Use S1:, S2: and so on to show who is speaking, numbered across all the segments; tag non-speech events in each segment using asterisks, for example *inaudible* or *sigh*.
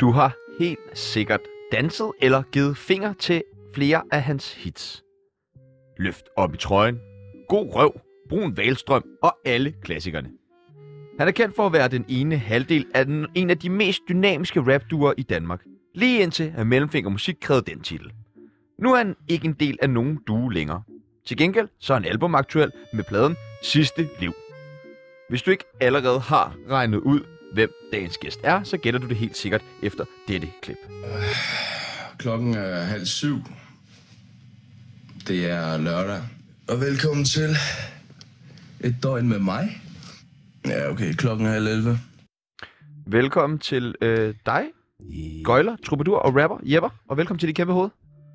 S1: Du har helt sikkert danset eller givet finger til flere af hans hits. Løft op i trøjen, God Røv, Brun Valstrøm og alle klassikerne. Han er kendt for at være den ene halvdel af den, en af de mest dynamiske rapduer i Danmark, lige indtil at Mellemfinger Musik krævede den titel. Nu er han ikke en del af nogen due længere. Til gengæld så er han albumaktuel med pladen Sidste Liv. Hvis du ikke allerede har regnet ud, hvem dagens gæst er, så gætter du det helt sikkert efter dette klip.
S2: Klokken er halv syv. Det er lørdag.
S3: Og velkommen til
S2: Et døgn med mig.
S3: Ja, okay, klokken er halv 11.
S1: Velkommen til øh, dig,
S4: Yeah.
S1: gøjler, troubadour og rapper Jepper, og velkommen til dit kæmpe hoved.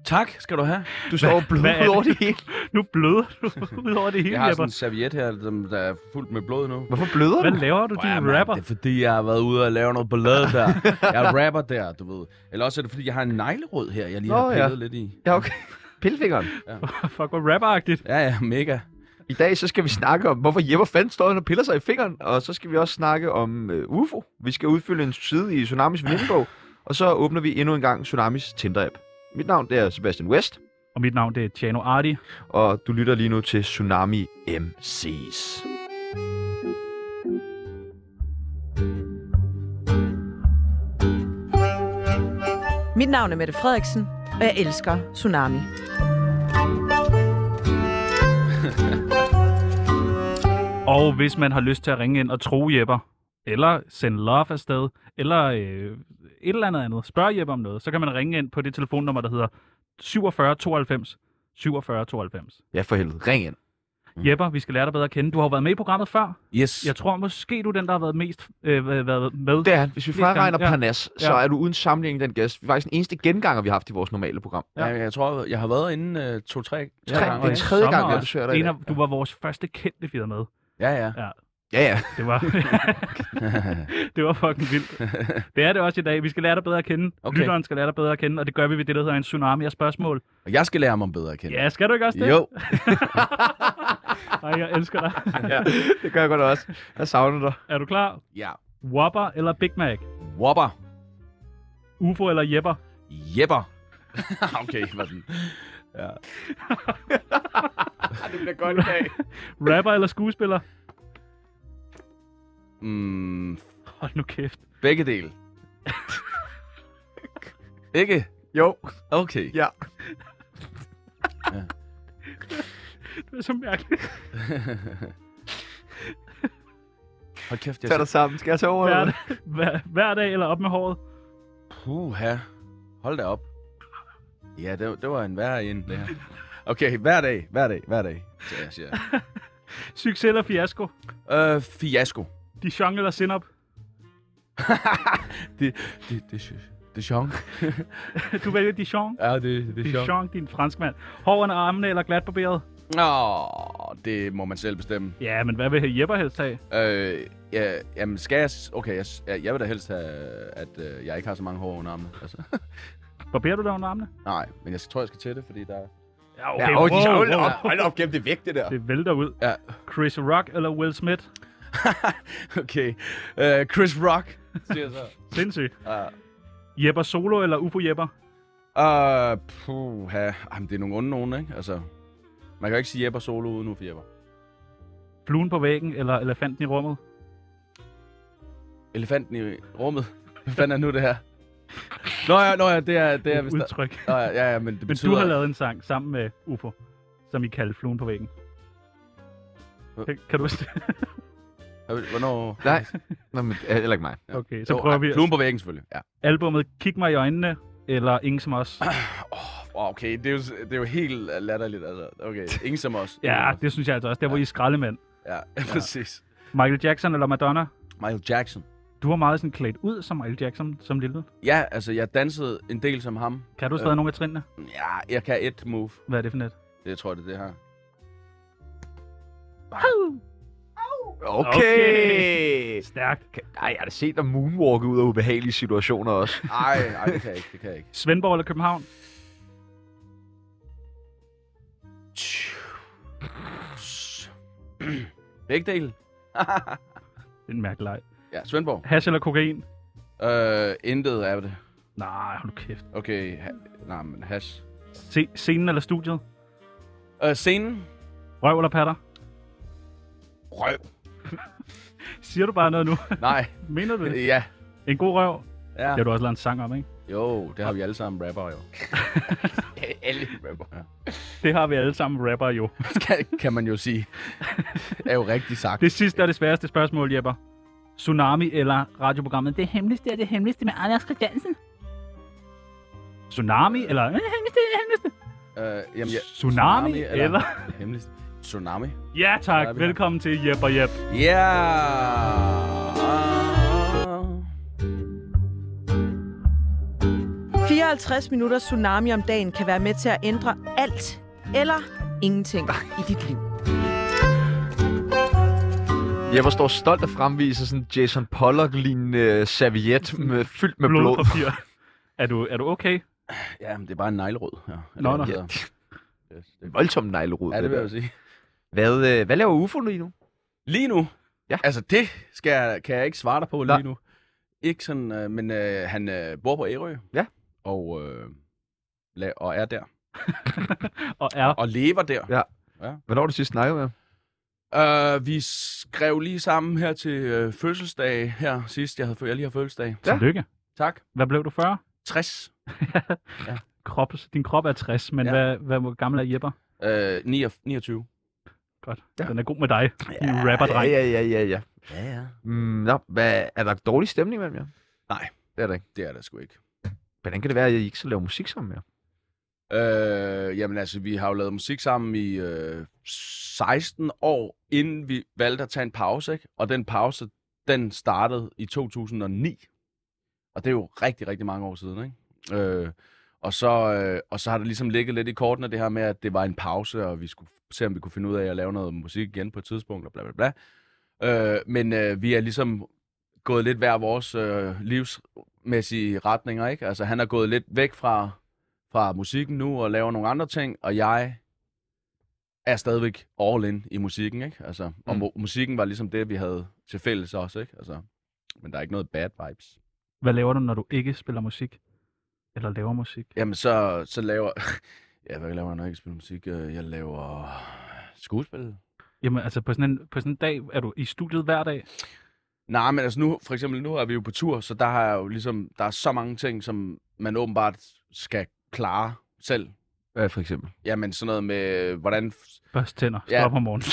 S4: Tak skal du have.
S1: Du står og
S5: hvad er
S1: blød over det hele.
S5: Nu bløder du *laughs* ud over det hele,
S4: Jeg har sådan
S5: Jepper.
S4: en serviet her, som der er fuldt med blod nu.
S1: Hvorfor bløder
S5: Hvad
S1: du?
S5: laver du,
S4: Ja,
S5: din
S4: mand,
S5: rapper?
S4: Det er fordi, jeg har været ude og lave noget ballade der. Jeg er rapper der, du ved. Eller også er det fordi, jeg har en neglerød her, jeg lige
S1: Nå,
S4: har pillet
S1: ja.
S4: lidt i.
S1: Ja, okay. Pillefingeren.
S5: Fuck, hvor rapperagtigt.
S4: Ja, ja, mega.
S1: I dag så skal vi snakke om, hvorfor Jepper fandt står og piller sig i fingeren, og så skal vi også snakke om øh, UFO. Vi skal udfylde en side i Tsunamis venindebog, og så åbner vi endnu en gang Tsunamis Tinder-app. Mit navn det er Sebastian West,
S5: Og mit navn, det er Tjano Arti.
S1: og du lytter lige nu til Tsunami MC's.
S6: Mit navn er Mette Frederiksen, og jeg elsker Tsunami.
S5: Og hvis man har lyst til at ringe ind og tro Jepper, eller sende love afsted, eller øh, et eller andet andet, spørg Jepper om noget, så kan man ringe ind på det telefonnummer, der hedder 47 92 47 92.
S1: Ja, for helvede. Ring ind.
S5: Mm. Jepper, vi skal lære dig bedre at kende. Du har jo været med i programmet før.
S4: Yes.
S5: Jeg tror måske, du er den, der har været mest øh, hvad- været med.
S1: Det er han. Hvis vi
S5: Flest gange,
S1: fraregner
S5: ja.
S1: Parnas, så
S5: Ja.
S1: er du uden sammenligning den gæst. Vi er faktisk den eneste genganger, vi har haft i vores normale program.
S4: Ja, jeg tror, jeg har været inde øh, to-tre
S1: Tre, det er tredje
S4: gange.
S5: Sommer
S1: gang, jeg
S5: også.
S1: besøger dig. i
S5: En af,
S1: dag.
S5: du var vores første kendte, vi havde med.
S4: Ja, ja. *laughs*
S1: Ja, ja.
S5: Det var,
S1: *laughs*
S5: det var fucking vildt. Det er det også i dag. Vi skal lære dig bedre at kende.
S4: Okay.
S5: Okay. Lytteren skal lære dig bedre at kende, og det gør vi ved det, der hedder en tsunami af spørgsmål.
S4: Og jeg skal lære mig bedre at kende.
S5: Ja, skal du ikke også det?
S4: Jo.
S5: Ej, jeg elsker dig.
S1: ja. *laughs* Det gør jeg godt også. Jeg savner dig.
S5: Er du klar?
S4: Ja.
S5: Whopper eller Big Mac?
S4: Whopper.
S5: UFO eller Jepper?
S4: Jepper. okay, hvad den?
S1: Det bliver godt i dag.
S5: *laughs* Rapper eller skuespiller?
S4: Mm,
S5: Hold nu kæft.
S4: begge
S1: *laughs*
S4: dele. Ikke?
S1: Jo.
S4: Okay.
S1: Ja.
S5: Det er så mærkeligt.
S4: *laughs* Hold kæft, jeg
S1: Tag dig sammen. Skal jeg tage over?
S5: Hver,
S1: eller
S5: hver, hver dag eller op med håret?
S4: Puha. Hold da op. Ja, det, det var en værre end det her. Okay, hver dag, hver dag, hver dag. Så jeg siger.
S5: Succes eller fiasko?
S4: Øh, fiasko.
S5: Dijon eller Sinop?
S4: det, det, det, det, det er sjovt.
S5: Du vælger Dijon.
S4: Ja, det, det er sjovt.
S5: Dijon, din franskmand. Hår under armene eller glat barberet?
S4: Nå, det må man selv bestemme.
S5: Ja, men hvad vil Jepper helst have?
S4: Øh, ja, jamen skal jeg... s- Okay, jeg, s- jeg, jeg vil da helst have, at øh, jeg ikke har så mange hår under armene. Altså. *laughs*
S5: Barberer du dig under armene?
S4: Nej, men jeg tror, jeg skal til det, fordi der er...
S5: Ja,
S1: Ja, og de hold op, hold op, gem det væk, det der.
S5: Det vælter ud.
S4: Ja.
S5: Chris Rock eller Will Smith?
S4: *laughs* okay, øh, Chris Rock. Siger *laughs* jeg så.
S5: Sindssygt.
S4: Ja.
S5: Jepper Solo eller Ufo Jepper?
S4: Uh, puha. Jamen, det er nogle onde nogen, ikke? Altså, man kan jo ikke sige Jepper solo uden Uffe Jepper.
S5: Fluen på væggen eller elefanten i rummet?
S4: Elefanten i rummet. *laughs* Hvad fanden er nu det her? Nå ja, nå ja, det er... Det
S5: *laughs*
S4: er vist...
S5: Udtryk.
S4: Nå ja, ja, ja, men det
S5: Men
S4: betyder...
S5: du har lavet en sang sammen med Ufo, som I kaldte Fluen på væggen.
S4: Hva-
S5: Kan- Kan du huske det?
S4: Hvornår...
S1: Nej, Nå, men, øh, heller ikke mig.
S5: Okay, så prøver
S4: ej,
S5: vi at-
S4: Fluen på væggen, selvfølgelig. Ja.
S5: Albummet Kig mig i øjnene eller Ingen som os?
S4: Oh, okay, det er, jo, s- det er jo helt latterligt, altså. Okay, ingen som os.
S5: Ja,
S4: det...
S5: det synes jeg altså også. Der hvor I er skraldemænd.
S4: Ja, præcis.
S5: Michael Jackson eller Madonna?
S4: Michael Jackson.
S5: Du var meget sådan klædt ud som Michael Jackson som lille.
S4: Ja, altså, jeg dansede en del som ham.
S5: Kan du stadig nogle af trinene?
S4: Ja, jeg kan et move.
S5: Hvad er det for net?
S4: Det tror jeg, det er det her.
S1: Okay.
S5: Stærkt.
S1: Nej, jeg har da set dig moonwalke ud af ubehagelige situationer også.
S4: Ej, ej, det kan jeg ikke, det kan jeg ikke.
S5: Svendborg eller København?
S4: Begge dele.
S5: Det er en mærkelig leg.
S4: Ja, Svendborg.
S5: Hash eller kokain?
S4: Øh, intet af det.
S5: Nej, hold nu kæft.
S4: Okay, ha- nej, men hash.
S5: Se, scenen eller studiet?
S4: Øh, scenen?
S5: Røv eller patter?
S4: Røv.
S5: *laughs* Siger du bare noget nu? *laughs*
S4: *laughs* Nej,
S5: Mener du det?
S4: ja.
S5: En god røv?
S4: ja.
S5: Det har du også lavet en sang om, ikke?
S4: Jo, det har vi alle sammen rapper jo. *laughs* alle rapper. Ja.
S5: Det har vi alle sammen rapper jo. *laughs*
S4: Kan, kan man jo sige. er jo rigtig sagt.
S5: Det sidste og det sværeste spørgsmål, Jepper. Tsunami eller radioprogrammet Det Hemmeligste er det Hemmeligste med Anders Christiansen? Tsunami eller Det Hemmeligste er det Hemmeligste?
S4: Øh, jamen, ja,
S5: Tsunami, eller?
S4: Hemmeligt. Tsunami.
S5: Ja tak,
S4: Ja, vi har-
S5: velkommen til Jepper Jep.
S4: Ja! Ah. Yeah!
S6: 54 minutter tsunami om dagen kan være med til at ændre alt eller ingenting i dit liv.
S1: Jeg forstår stolt at fremvise sådan en Jason Pollock-lignende øh, serviet med, fyldt med blod.
S5: Blodpapir. Er du, er du okay?
S4: Ja, men det er bare en neglerød. Ja.
S5: Nå, nå.
S4: Ja. Yes, det,
S1: Voldsom neglerod.
S4: ja, det vil jeg jo
S1: der.
S4: sige.
S1: Hvad, øh, hvad laver UFO lige nu?
S4: Lige nu?
S1: Ja.
S4: Altså, det skal jeg, kan jeg ikke svare dig på
S1: Nej.
S4: lige nu. Ikke sådan, øh, men øh, han øh, bor på Ærø.
S1: Ja.
S4: Og, øh, la- og er der.
S5: Og er
S4: Og lever der.
S1: Hvornår har du sidst snakket med ham?
S4: Uh, vi skrev lige sammen her til øh, fødselsdag her sidst. Jeg, havde, fø- jeg lige har fødselsdag.
S1: Ja.
S5: tillykke.
S4: Tak.
S5: Hvad blev du 40?
S4: 60.
S5: Krop, din krop er 60, men
S4: Ja.
S5: hvad, hvad hvor gammel er Jepper?
S4: Uh, 29.
S5: Godt.
S1: Ja.
S5: Den er god med dig, din rapperdreng.
S1: Ja, ja, ja, ja.
S4: Ja, ja.
S1: Mm, nå, hvad, er der dårlig stemning mellem jer?
S4: Nej.
S1: Det er der ikke.
S4: Det er der sgu ikke.
S1: Hvordan kan det være, at I ikke så laver musik sammen mere?
S4: Øh, jamen altså, vi har jo lavet musik sammen i øh, 16 år, inden vi valgte at tage en pause, ikke? Og den pause, den startede i 2009. Og det er jo rigtig, rigtig mange år siden, ikke? Øh, og, så, øh, og så har det ligesom ligget lidt i kortene, det her med, at det var en pause, og vi skulle se, om vi kunne finde ud af at lave noget musik igen på et tidspunkt, og bla bla bla. Øh, men øh, vi er ligesom gået lidt hver vores øh, livsmæssige retninger, ikke? Altså, han er gået lidt væk fra fra musikken nu og laver nogle andre ting, og jeg er stadigvæk all in i musikken, ikke? Altså, og
S1: Mm.
S4: mu- musikken var ligesom det, vi havde til fælles også, ikke? Altså, men der er ikke noget bad vibes.
S5: Hvad laver du, når du ikke spiller musik? Eller laver musik?
S4: Jamen, så, så laver... *laughs* ja, hvad laver jeg, når jeg ikke spiller musik? Øh, Jeg laver skuespil.
S5: Jamen, altså på sådan, en, på sådan en dag, er du i studiet hver dag?
S4: Nej, men altså nu, for eksempel nu er vi jo på tur, så der har jeg jo ligesom, der er så mange ting, som man åbenbart skal klare selv.
S1: Hvad for eksempel?
S4: Jamen sådan noget med, hvordan...
S5: Børst tænder, stå
S4: Ja.
S5: op om morgenen,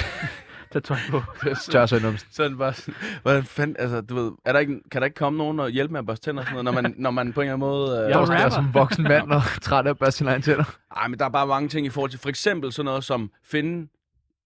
S5: tag tøj på.
S1: Tør sig om.
S4: Sådan bare, sådan, hvordan fanden, altså, du ved, er der ikke, kan der ikke komme nogen og hjælpe med at børste tænder og sådan noget, når
S5: *laughs*
S4: man, når man på en eller anden måde... Øh,
S5: Jeg er
S4: Ej,
S5: rapper.
S1: som en voksen mand *laughs* og træt af at børste sine egne tænder.
S4: men der er bare mange ting i forhold til, for eksempel sådan noget som finde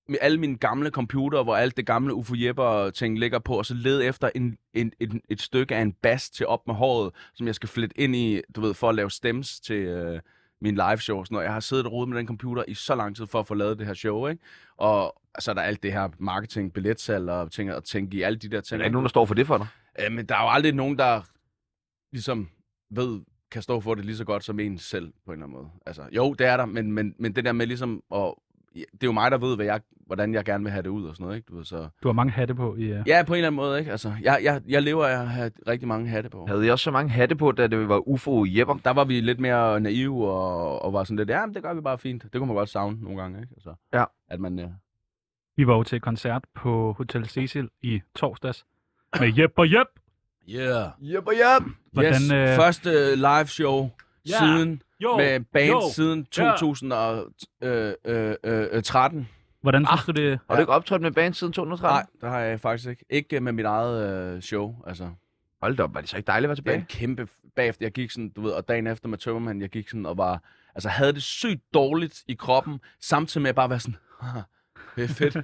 S4: med alle mine gamle computer, hvor alt det gamle Ufo Jepper ting ligger på, og så lede efter en, en, en, et stykke af en bas til op med håret, som jeg skal flette ind i, du ved, for at lave stems til øh, min live show og sådan noget. Jeg har siddet og rodet med den computer i så lang tid for at få lavet det her show, ikke? Og så er der alt det her marketing, billetsalg og ting, og tænke i alle de der
S1: Er
S4: ting.
S1: der ikke nogen, der står for det for dig?
S4: Øh, men der er jo aldrig nogen, der ligesom ved, kan stå for det lige så godt som en selv, på en eller anden måde. Altså, jo, det er der, men, men, men det der med ligesom at... Det er jo mig, der ved, hvad jeg, hvordan jeg gerne vil have det ud og sådan noget, ikke? Du ved, så...
S5: Du har mange hatte på i... øh. Ja.
S4: Ja, på en eller anden måde, ikke? Altså, jeg, jeg, jeg lever af at have rigtig mange hatte på.
S1: Havde I også så mange hatte på, da det var UFO Jepper?
S4: Der var vi lidt mere naive og, og var sådan lidt, ja, men det gør vi bare fint. Det kunne man godt savne nogle gange, ikke? Altså,
S1: Ja.
S4: At man... Øh,
S5: Vi var jo til koncert på Hotel Cecil i torsdags med Jep og Jep.
S4: yeah.
S1: Jepper, Jep!
S5: Hvordan,
S4: yes,
S5: øh,
S4: første live show
S5: Ja.
S4: siden
S5: Jo,
S4: med band
S5: jo,
S4: siden
S5: ja.
S4: øh, 2013.
S5: hvordan synes du det?
S1: Har du ikke optrådt med band siden 2013?
S4: Nej, det har jeg faktisk ikke. Ikke med mit eget øh, show, altså.
S1: Hold da op, var det så ikke dejligt at være
S4: Det er
S1: tilbage?
S4: en kæmpe... Bagefter, jeg gik sådan, du ved, og dagen efter med Tømmermand, jeg gik sådan og var... Altså, havde det sygt dårligt i kroppen, samtidig med at bare være sådan... "Haha, Det er fedt.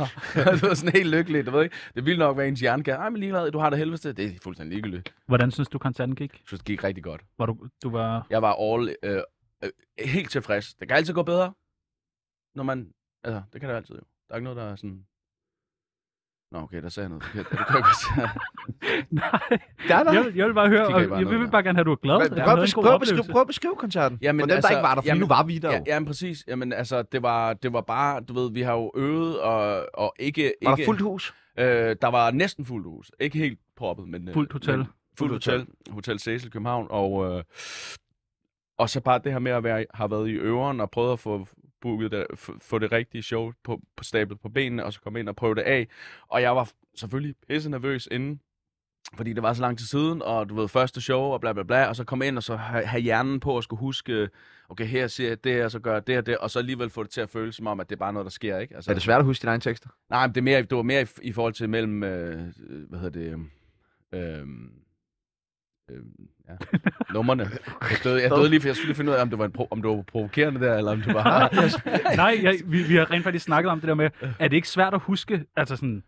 S4: *laughs* det var sådan helt lykkelig, du ved ikke? Det ville nok være ens hjerne kan. Ej, men ligeglad, du har det helvede. Det er fuldstændig ligegyldigt.
S5: Hvordan synes du, koncerten gik?
S4: Jeg synes, det gik rigtig godt.
S5: Var du, du
S4: *laughs*
S5: var...
S4: Jeg var all... Øh, øh, helt tilfreds. Det kan altid gå bedre, når man... Altså, det kan det altid jo. Der er ikke noget, der er sådan... Nå, okay, der sagde jeg noget forkert. Det kan jeg godt sige.
S5: Nej,
S1: Der er der.
S5: jeg, vil- jeg vil bare høre,
S4: Det
S5: og
S4: kan jeg bare
S5: jeg
S4: noget
S5: vil bare gerne have, at du er glad.
S1: Hvad-
S5: at du
S1: Prøv
S5: havde
S1: at
S5: en
S1: beskrive-
S5: god
S1: prøv at
S5: oplevelse.
S1: beskrive- prøv at beskrive koncerten.
S4: Jamen,
S1: for dem, der
S4: altså,
S1: ikke var der, for
S4: jamen,
S1: nu var vi der *laughs*
S4: Ja,
S1: jo.
S4: jamen præcis. Jamen altså, det var, det var bare, du ved, vi har jo øvet og, og ikke...
S1: Var
S4: ikke
S1: der fuldt hus?
S4: Øh, der var næsten fuldt hus. Ikke helt proppet, men... øh,
S5: Fuldt hotel.
S4: Men, Fuld Hotel, Hotel Cecil København, og, øh, og så bare det her med at være, har været i øveren og prøvet at få booket det, f- få det rigtige show på, på stablet på benene, og så komme ind og prøve det af. Og jeg var selvfølgelig pisse nervøs inden, fordi det var så lang tid siden, og du ved, første show og bla bla bla, og så komme ind og så have, have hjernen på og skulle huske, okay, her siger jeg det, og så gør jeg det og det, og så alligevel få det til at føles som om, at det er bare noget, der sker, ikke? Altså,
S1: Er det svært at huske dine egne tekster?
S4: Nej, men det, er mere, det var mere i, i forhold til mellem, øh, øh, hvad hedder det, øhm, øhm,
S5: *laughs*
S4: ja, nummerne. Jeg døde, jeg døde lige, for jeg skulle lige finde ud af, om det var, en pro- om det var provokerende der, eller om det var...
S5: Nej, *laughs* jeg, vi, vi har rent faktisk snakket om det der med, er det ikke svært at huske, altså sådan,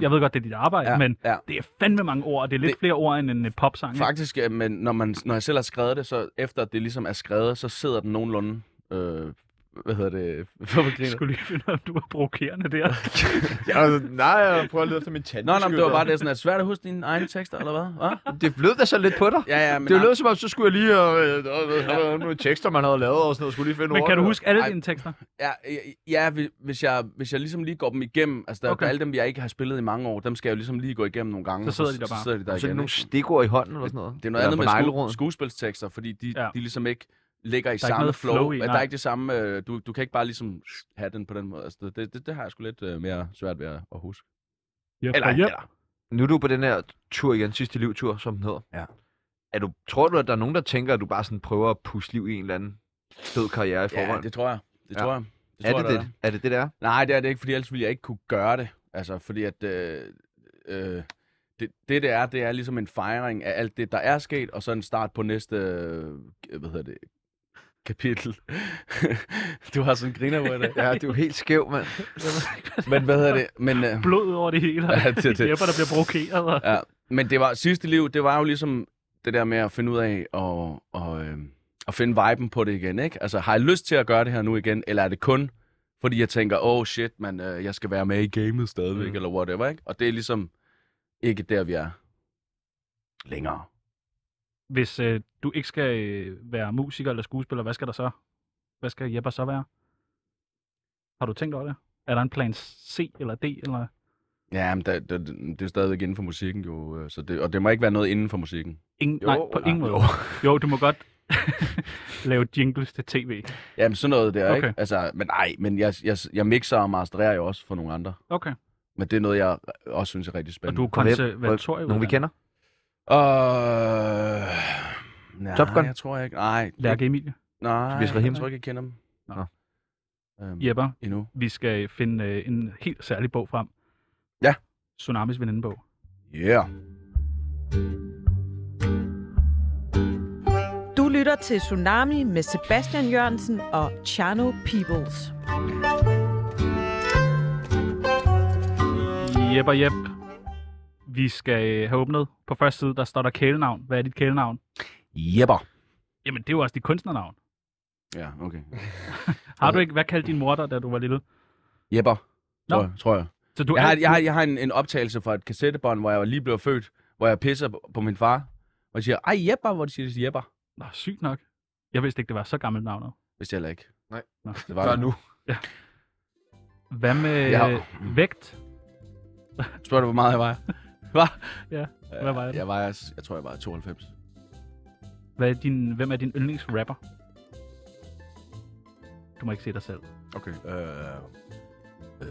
S5: jeg ved godt, det er dit arbejde, ja. men
S4: ja.
S5: det er fandme mange ord, og det er lidt
S4: Det-
S5: flere ord end en øh, popsang. ikke?
S4: Faktisk, øh, men når, man, når jeg selv har skrevet det, så efter at det ligesom er skrevet, så sidder den nogenlunde... Øh, hvad hedder det? *laughs* Hvorfor
S5: Jeg
S4: griner du?
S5: skulle lige finde ud af, om du var provokerende der.
S1: Ja, altså, nej, jeg prøver at lede efter min tante.
S4: Nå, nej, men det var bare det, sådan, at svært at huske dine egne tekster, eller hvad? Hva?
S1: Det lød da så lidt på dig.
S4: Ja, ja, men...
S1: det lød som om, så skulle jeg lige... Øh, øh, øh, øh, nogle tekster, man havde lavet og sådan noget, skulle lige finde
S5: Men kan
S1: ordene.
S5: du huske alle
S4: Ej.
S5: dine tekster?
S4: Ja, ja, ja hvi- hvis, jeg, hvis jeg ligesom lige går dem igennem, altså der
S5: Okay.
S4: okay. alle dem, jeg ikke har spillet i mange år, dem skal jeg jo ligesom lige gå igennem nogle gange.
S5: Så
S4: og
S5: sidder de der bare.
S4: Så sidder de der
S1: Og så er det
S4: igen,
S1: nogle
S4: ikke?
S1: stikord i hånden eller sådan noget.
S4: Det er noget
S1: Eller
S4: andet med
S1: på
S4: sku,
S1: negleroden.
S4: skuespilstekster, fordi de,
S5: Ja.
S4: ja. de ligesom ikke ligger i
S5: Der er ikke
S4: samme
S5: noget
S4: flow.
S5: flow i,
S4: Ja, der
S5: nej.
S4: er ikke det samme, øh, du, du kan ikke bare ligesom have den på den måde. Altså, det, det, det har jeg sgu lidt øh, mere svært ved at at huske.
S5: Yep,
S4: Eller,
S5: yep.
S4: eller
S1: Nu er du på den her tur igen, sidste livtur, som den hedder.
S4: Ja.
S1: Er du, tror du, at der er nogen, der tænker, at du bare sådan prøver at pusse liv i en eller anden fed karriere i
S4: ja,
S1: forvejen?
S4: det tror jeg. Det
S1: Ja.
S4: ja. tror jeg. Det
S1: er,
S4: tror
S1: det
S4: jeg, der
S1: det? er det det, der?
S4: Nej, det er det ikke, fordi ellers ville jeg ikke kunne gøre det. Altså, fordi at... Øh, øh, det, det, det er, det er ligesom en fejring af alt det, der er sket, og så en start på næste, øh, hvad hedder det, kapitel. *laughs* du har sådan en griner på det.
S1: Ja, du er helt skæv, mand.
S4: Men hvad hedder det? Men, øh,
S5: Blod over det hele, og
S4: *laughs* Ja, det er det.
S5: Jepper, der bliver provokeret. Og...
S4: ja, men det var sidste liv, det var jo ligesom det der med at finde ud af og, og, øh, at finde viben på det igen, ikke? Altså, har jeg lyst til at gøre det her nu igen, eller er det kun fordi jeg tænker, oh shit, man, øh, jeg skal være med i gamet stadigvæk,
S1: Mm.
S4: mm. eller whatever, ikke? Og det er ligesom ikke der, vi er længere.
S5: Hvis øh, du ikke skal øh, være musiker eller skuespiller, hvad skal der så? Hvad skal Jepper så være? Har du tænkt over det? Er der en plan C eller D? Eller...
S4: Ja, men der, der, det er stadigvæk inden for musikken jo, øh, så det, og det må ikke være noget inden for musikken.
S5: Ingen... Jo, Nej, på ingen måde. Jo. jo, du må godt *laughs* lave jingles til tv.
S4: Jamen sådan noget der,
S5: Okay.
S4: ikke? Altså, men nej, men jeg, jeg, jeg mixer og masterer jo også for nogle andre.
S5: Okay,
S4: Men det er noget, jeg også synes er rigtig
S5: og
S4: spændende.
S5: du er
S1: Hvem-
S5: konservatoriet.
S1: Nogen, vi kender?
S4: Øh... Nej,
S1: Top Gun?
S4: Jeg tror ikke. Nej.
S5: Lærke Emilie.
S4: Nej,
S1: Tobias Rahim?
S4: jeg tror ikke, jeg kender dem.
S1: Nå.
S4: Øhm,
S5: Jepper,
S4: Endnu.
S5: vi skal finde øh, en helt særlig bog frem.
S4: Ja.
S5: Tsunamis venindebog.
S4: Yeah.
S6: Du lytter til Tsunami med Sebastian Jørgensen og Chano Peoples.
S5: Jep og jep. Vi skal øh, have åbnet. På første side, der står der kælenavn. Hvad er dit kælenavn?
S4: Jepper.
S5: Jamen, det er jo også dit kunstnernavn.
S4: Ja, okay.
S5: Har du ikke, hvad kaldte din mor dig, da du var lille?
S4: Jepper.
S5: Nå.
S4: Tror, jeg, tror jeg.
S5: Så du
S4: Jeg
S5: er-
S4: har, jeg har, jeg har en, en optagelse fra et kassettebånd, hvor jeg var lige blev født, hvor jeg pisser på- på min far, og siger, ej Jepper, hvor de siger, det er Jepper.
S5: Nå, sygt nok. Jeg vidste ikke, det var så gammelt navnet.
S4: Hvis jeg heller ikke.
S1: Nej.
S5: Nå.
S4: det var det.
S1: nu.
S5: Hvad med
S4: Ja.
S5: ja. vægt?
S4: Spørger du, hvor meget jeg vejer? Hvad?
S5: Ja, hvad vejer du?
S4: jeg? Jeg, vejer, jeg tror, jeg vejer 92.
S5: Hvad er din, hvem er din yndlingsrapper? Du må ikke se dig selv.
S4: Okay. Øh, øh,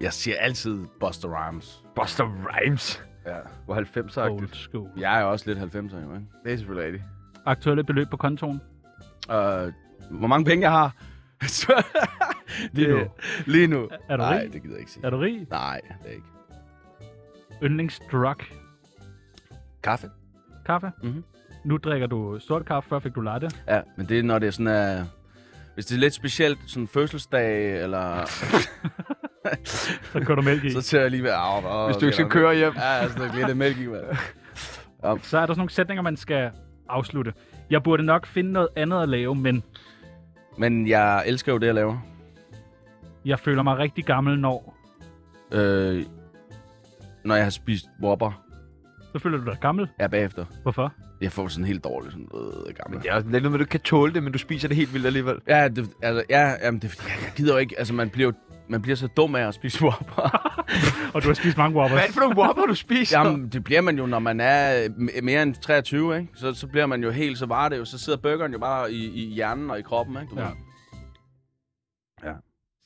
S4: jeg siger altid Buster Rhymes.
S1: Buster Rhymes.
S4: Ja.
S1: Hvor 90
S5: Old
S1: agtigt
S5: school.
S4: Jeg er jo også lidt 90'er, jo, ikke?
S1: Det er selvfølgelig rigtigt.
S5: Aktuelle beløb på kontoen?
S4: Øh, hvor mange penge jeg har? *laughs*
S5: Lige nu.
S4: Det- *laughs* Lige nu.
S5: Er du
S4: Nej,
S5: rig?
S4: det gider jeg ikke sige.
S5: Er du rig?
S4: Nej, det er ikke.
S5: Yndlingsdrug?
S4: Kaffe?
S5: Kaffe?
S4: Mhm.
S5: Nu drikker du sort kaffe, før fik du latte.
S4: Ja, men det er, når det er sådan, uh, hvis det er lidt specielt, sådan fødselsdag,
S5: *laughs*
S4: eller...
S5: Så kører du mælk i.
S4: *laughs* så tager jeg lige ved... Au, au,
S1: Hvis du ikke skal
S4: det er-
S1: køre hjem.
S4: Ja, altså, det er lidt af mælk i, mand.
S5: Så er der sådan nogle sætninger, man skal afslutte. Jeg burde nok finde noget andet at lave, men
S4: Men jeg elsker jo det, jeg laver.
S5: jeg føler mig rigtig gammel, når...
S4: Øh, når jeg har spist whopper,
S5: Så føler du dig gammel.
S4: ja, bagefter.
S5: Hvorfor?
S4: Jeg får sådan helt dårligt, sådan øh, noget gammel.
S1: Men det er også lidt noget, med, at du ikke kan tåle det, men du spiser det helt vildt alligevel.
S4: Ja, det, altså, ja jamen, det, er fordi, jeg, jeg gider jo ikke, altså man bliver jo man bliver så dum af at spise *laughs* Whopper.
S5: Og du har spist mange
S1: Hvad
S5: whoppers.
S1: er det for nogle whopper, du spiser?
S4: Jamen, det bliver man jo, når man er m- mere end 23, ikke? Så, så bliver man jo helt, så var det jo, så sidder burgeren jo bare i, i hjernen og i kroppen, ikke? Du
S5: Ja.
S4: ja.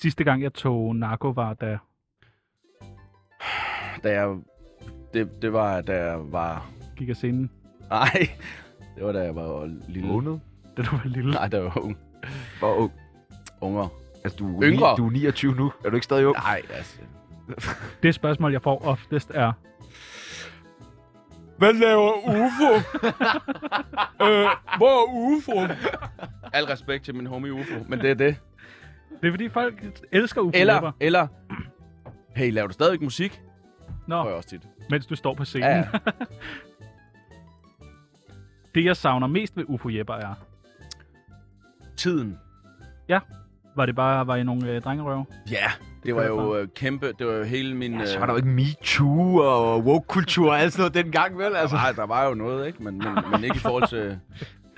S5: Sidste gang, jeg tog narko, var da...
S4: Da jeg, det, det var, da jeg var... *laughs*
S5: Gik af scenen,
S4: Nej, det var, da jeg var lille.
S1: Måned?
S5: da du var lille.
S4: Nej, da jeg var ung.
S1: Hvor ung?
S4: Unger.
S1: Altså, du er,
S4: Yngre.
S1: Ni, du er 29 nu. Er du ikke stadig ung?
S4: Nej, altså.
S5: Det spørgsmål, jeg får oftest er...
S4: Hvad laver *laughs* UFO? øh, hvor er UFO? Al respekt til min homie UFO, men det er det.
S5: Det er fordi, folk elsker ufo
S4: Eller, eller, hey, laver du stadigvæk musik?
S5: Nå,
S4: Får jeg også tit.
S5: mens du står på scenen.
S4: Ja, ja.
S5: *laughs* Det, jeg savner mest ved ufo jepper er...
S4: Tiden.
S5: Var det bare var I nogle øh, drengerøve?
S4: Ja, det var
S5: jeg
S4: jo øh, kæmpe, det var jo hele min...
S1: Ja,
S4: øh,
S1: Altså, så var der jo ikke MeToo og woke-kultur og alt sådan noget dengang, vel? Altså,
S4: der, var, der var jo noget, ikke? Men, men, men ikke i
S1: *laughs*
S4: forhold til,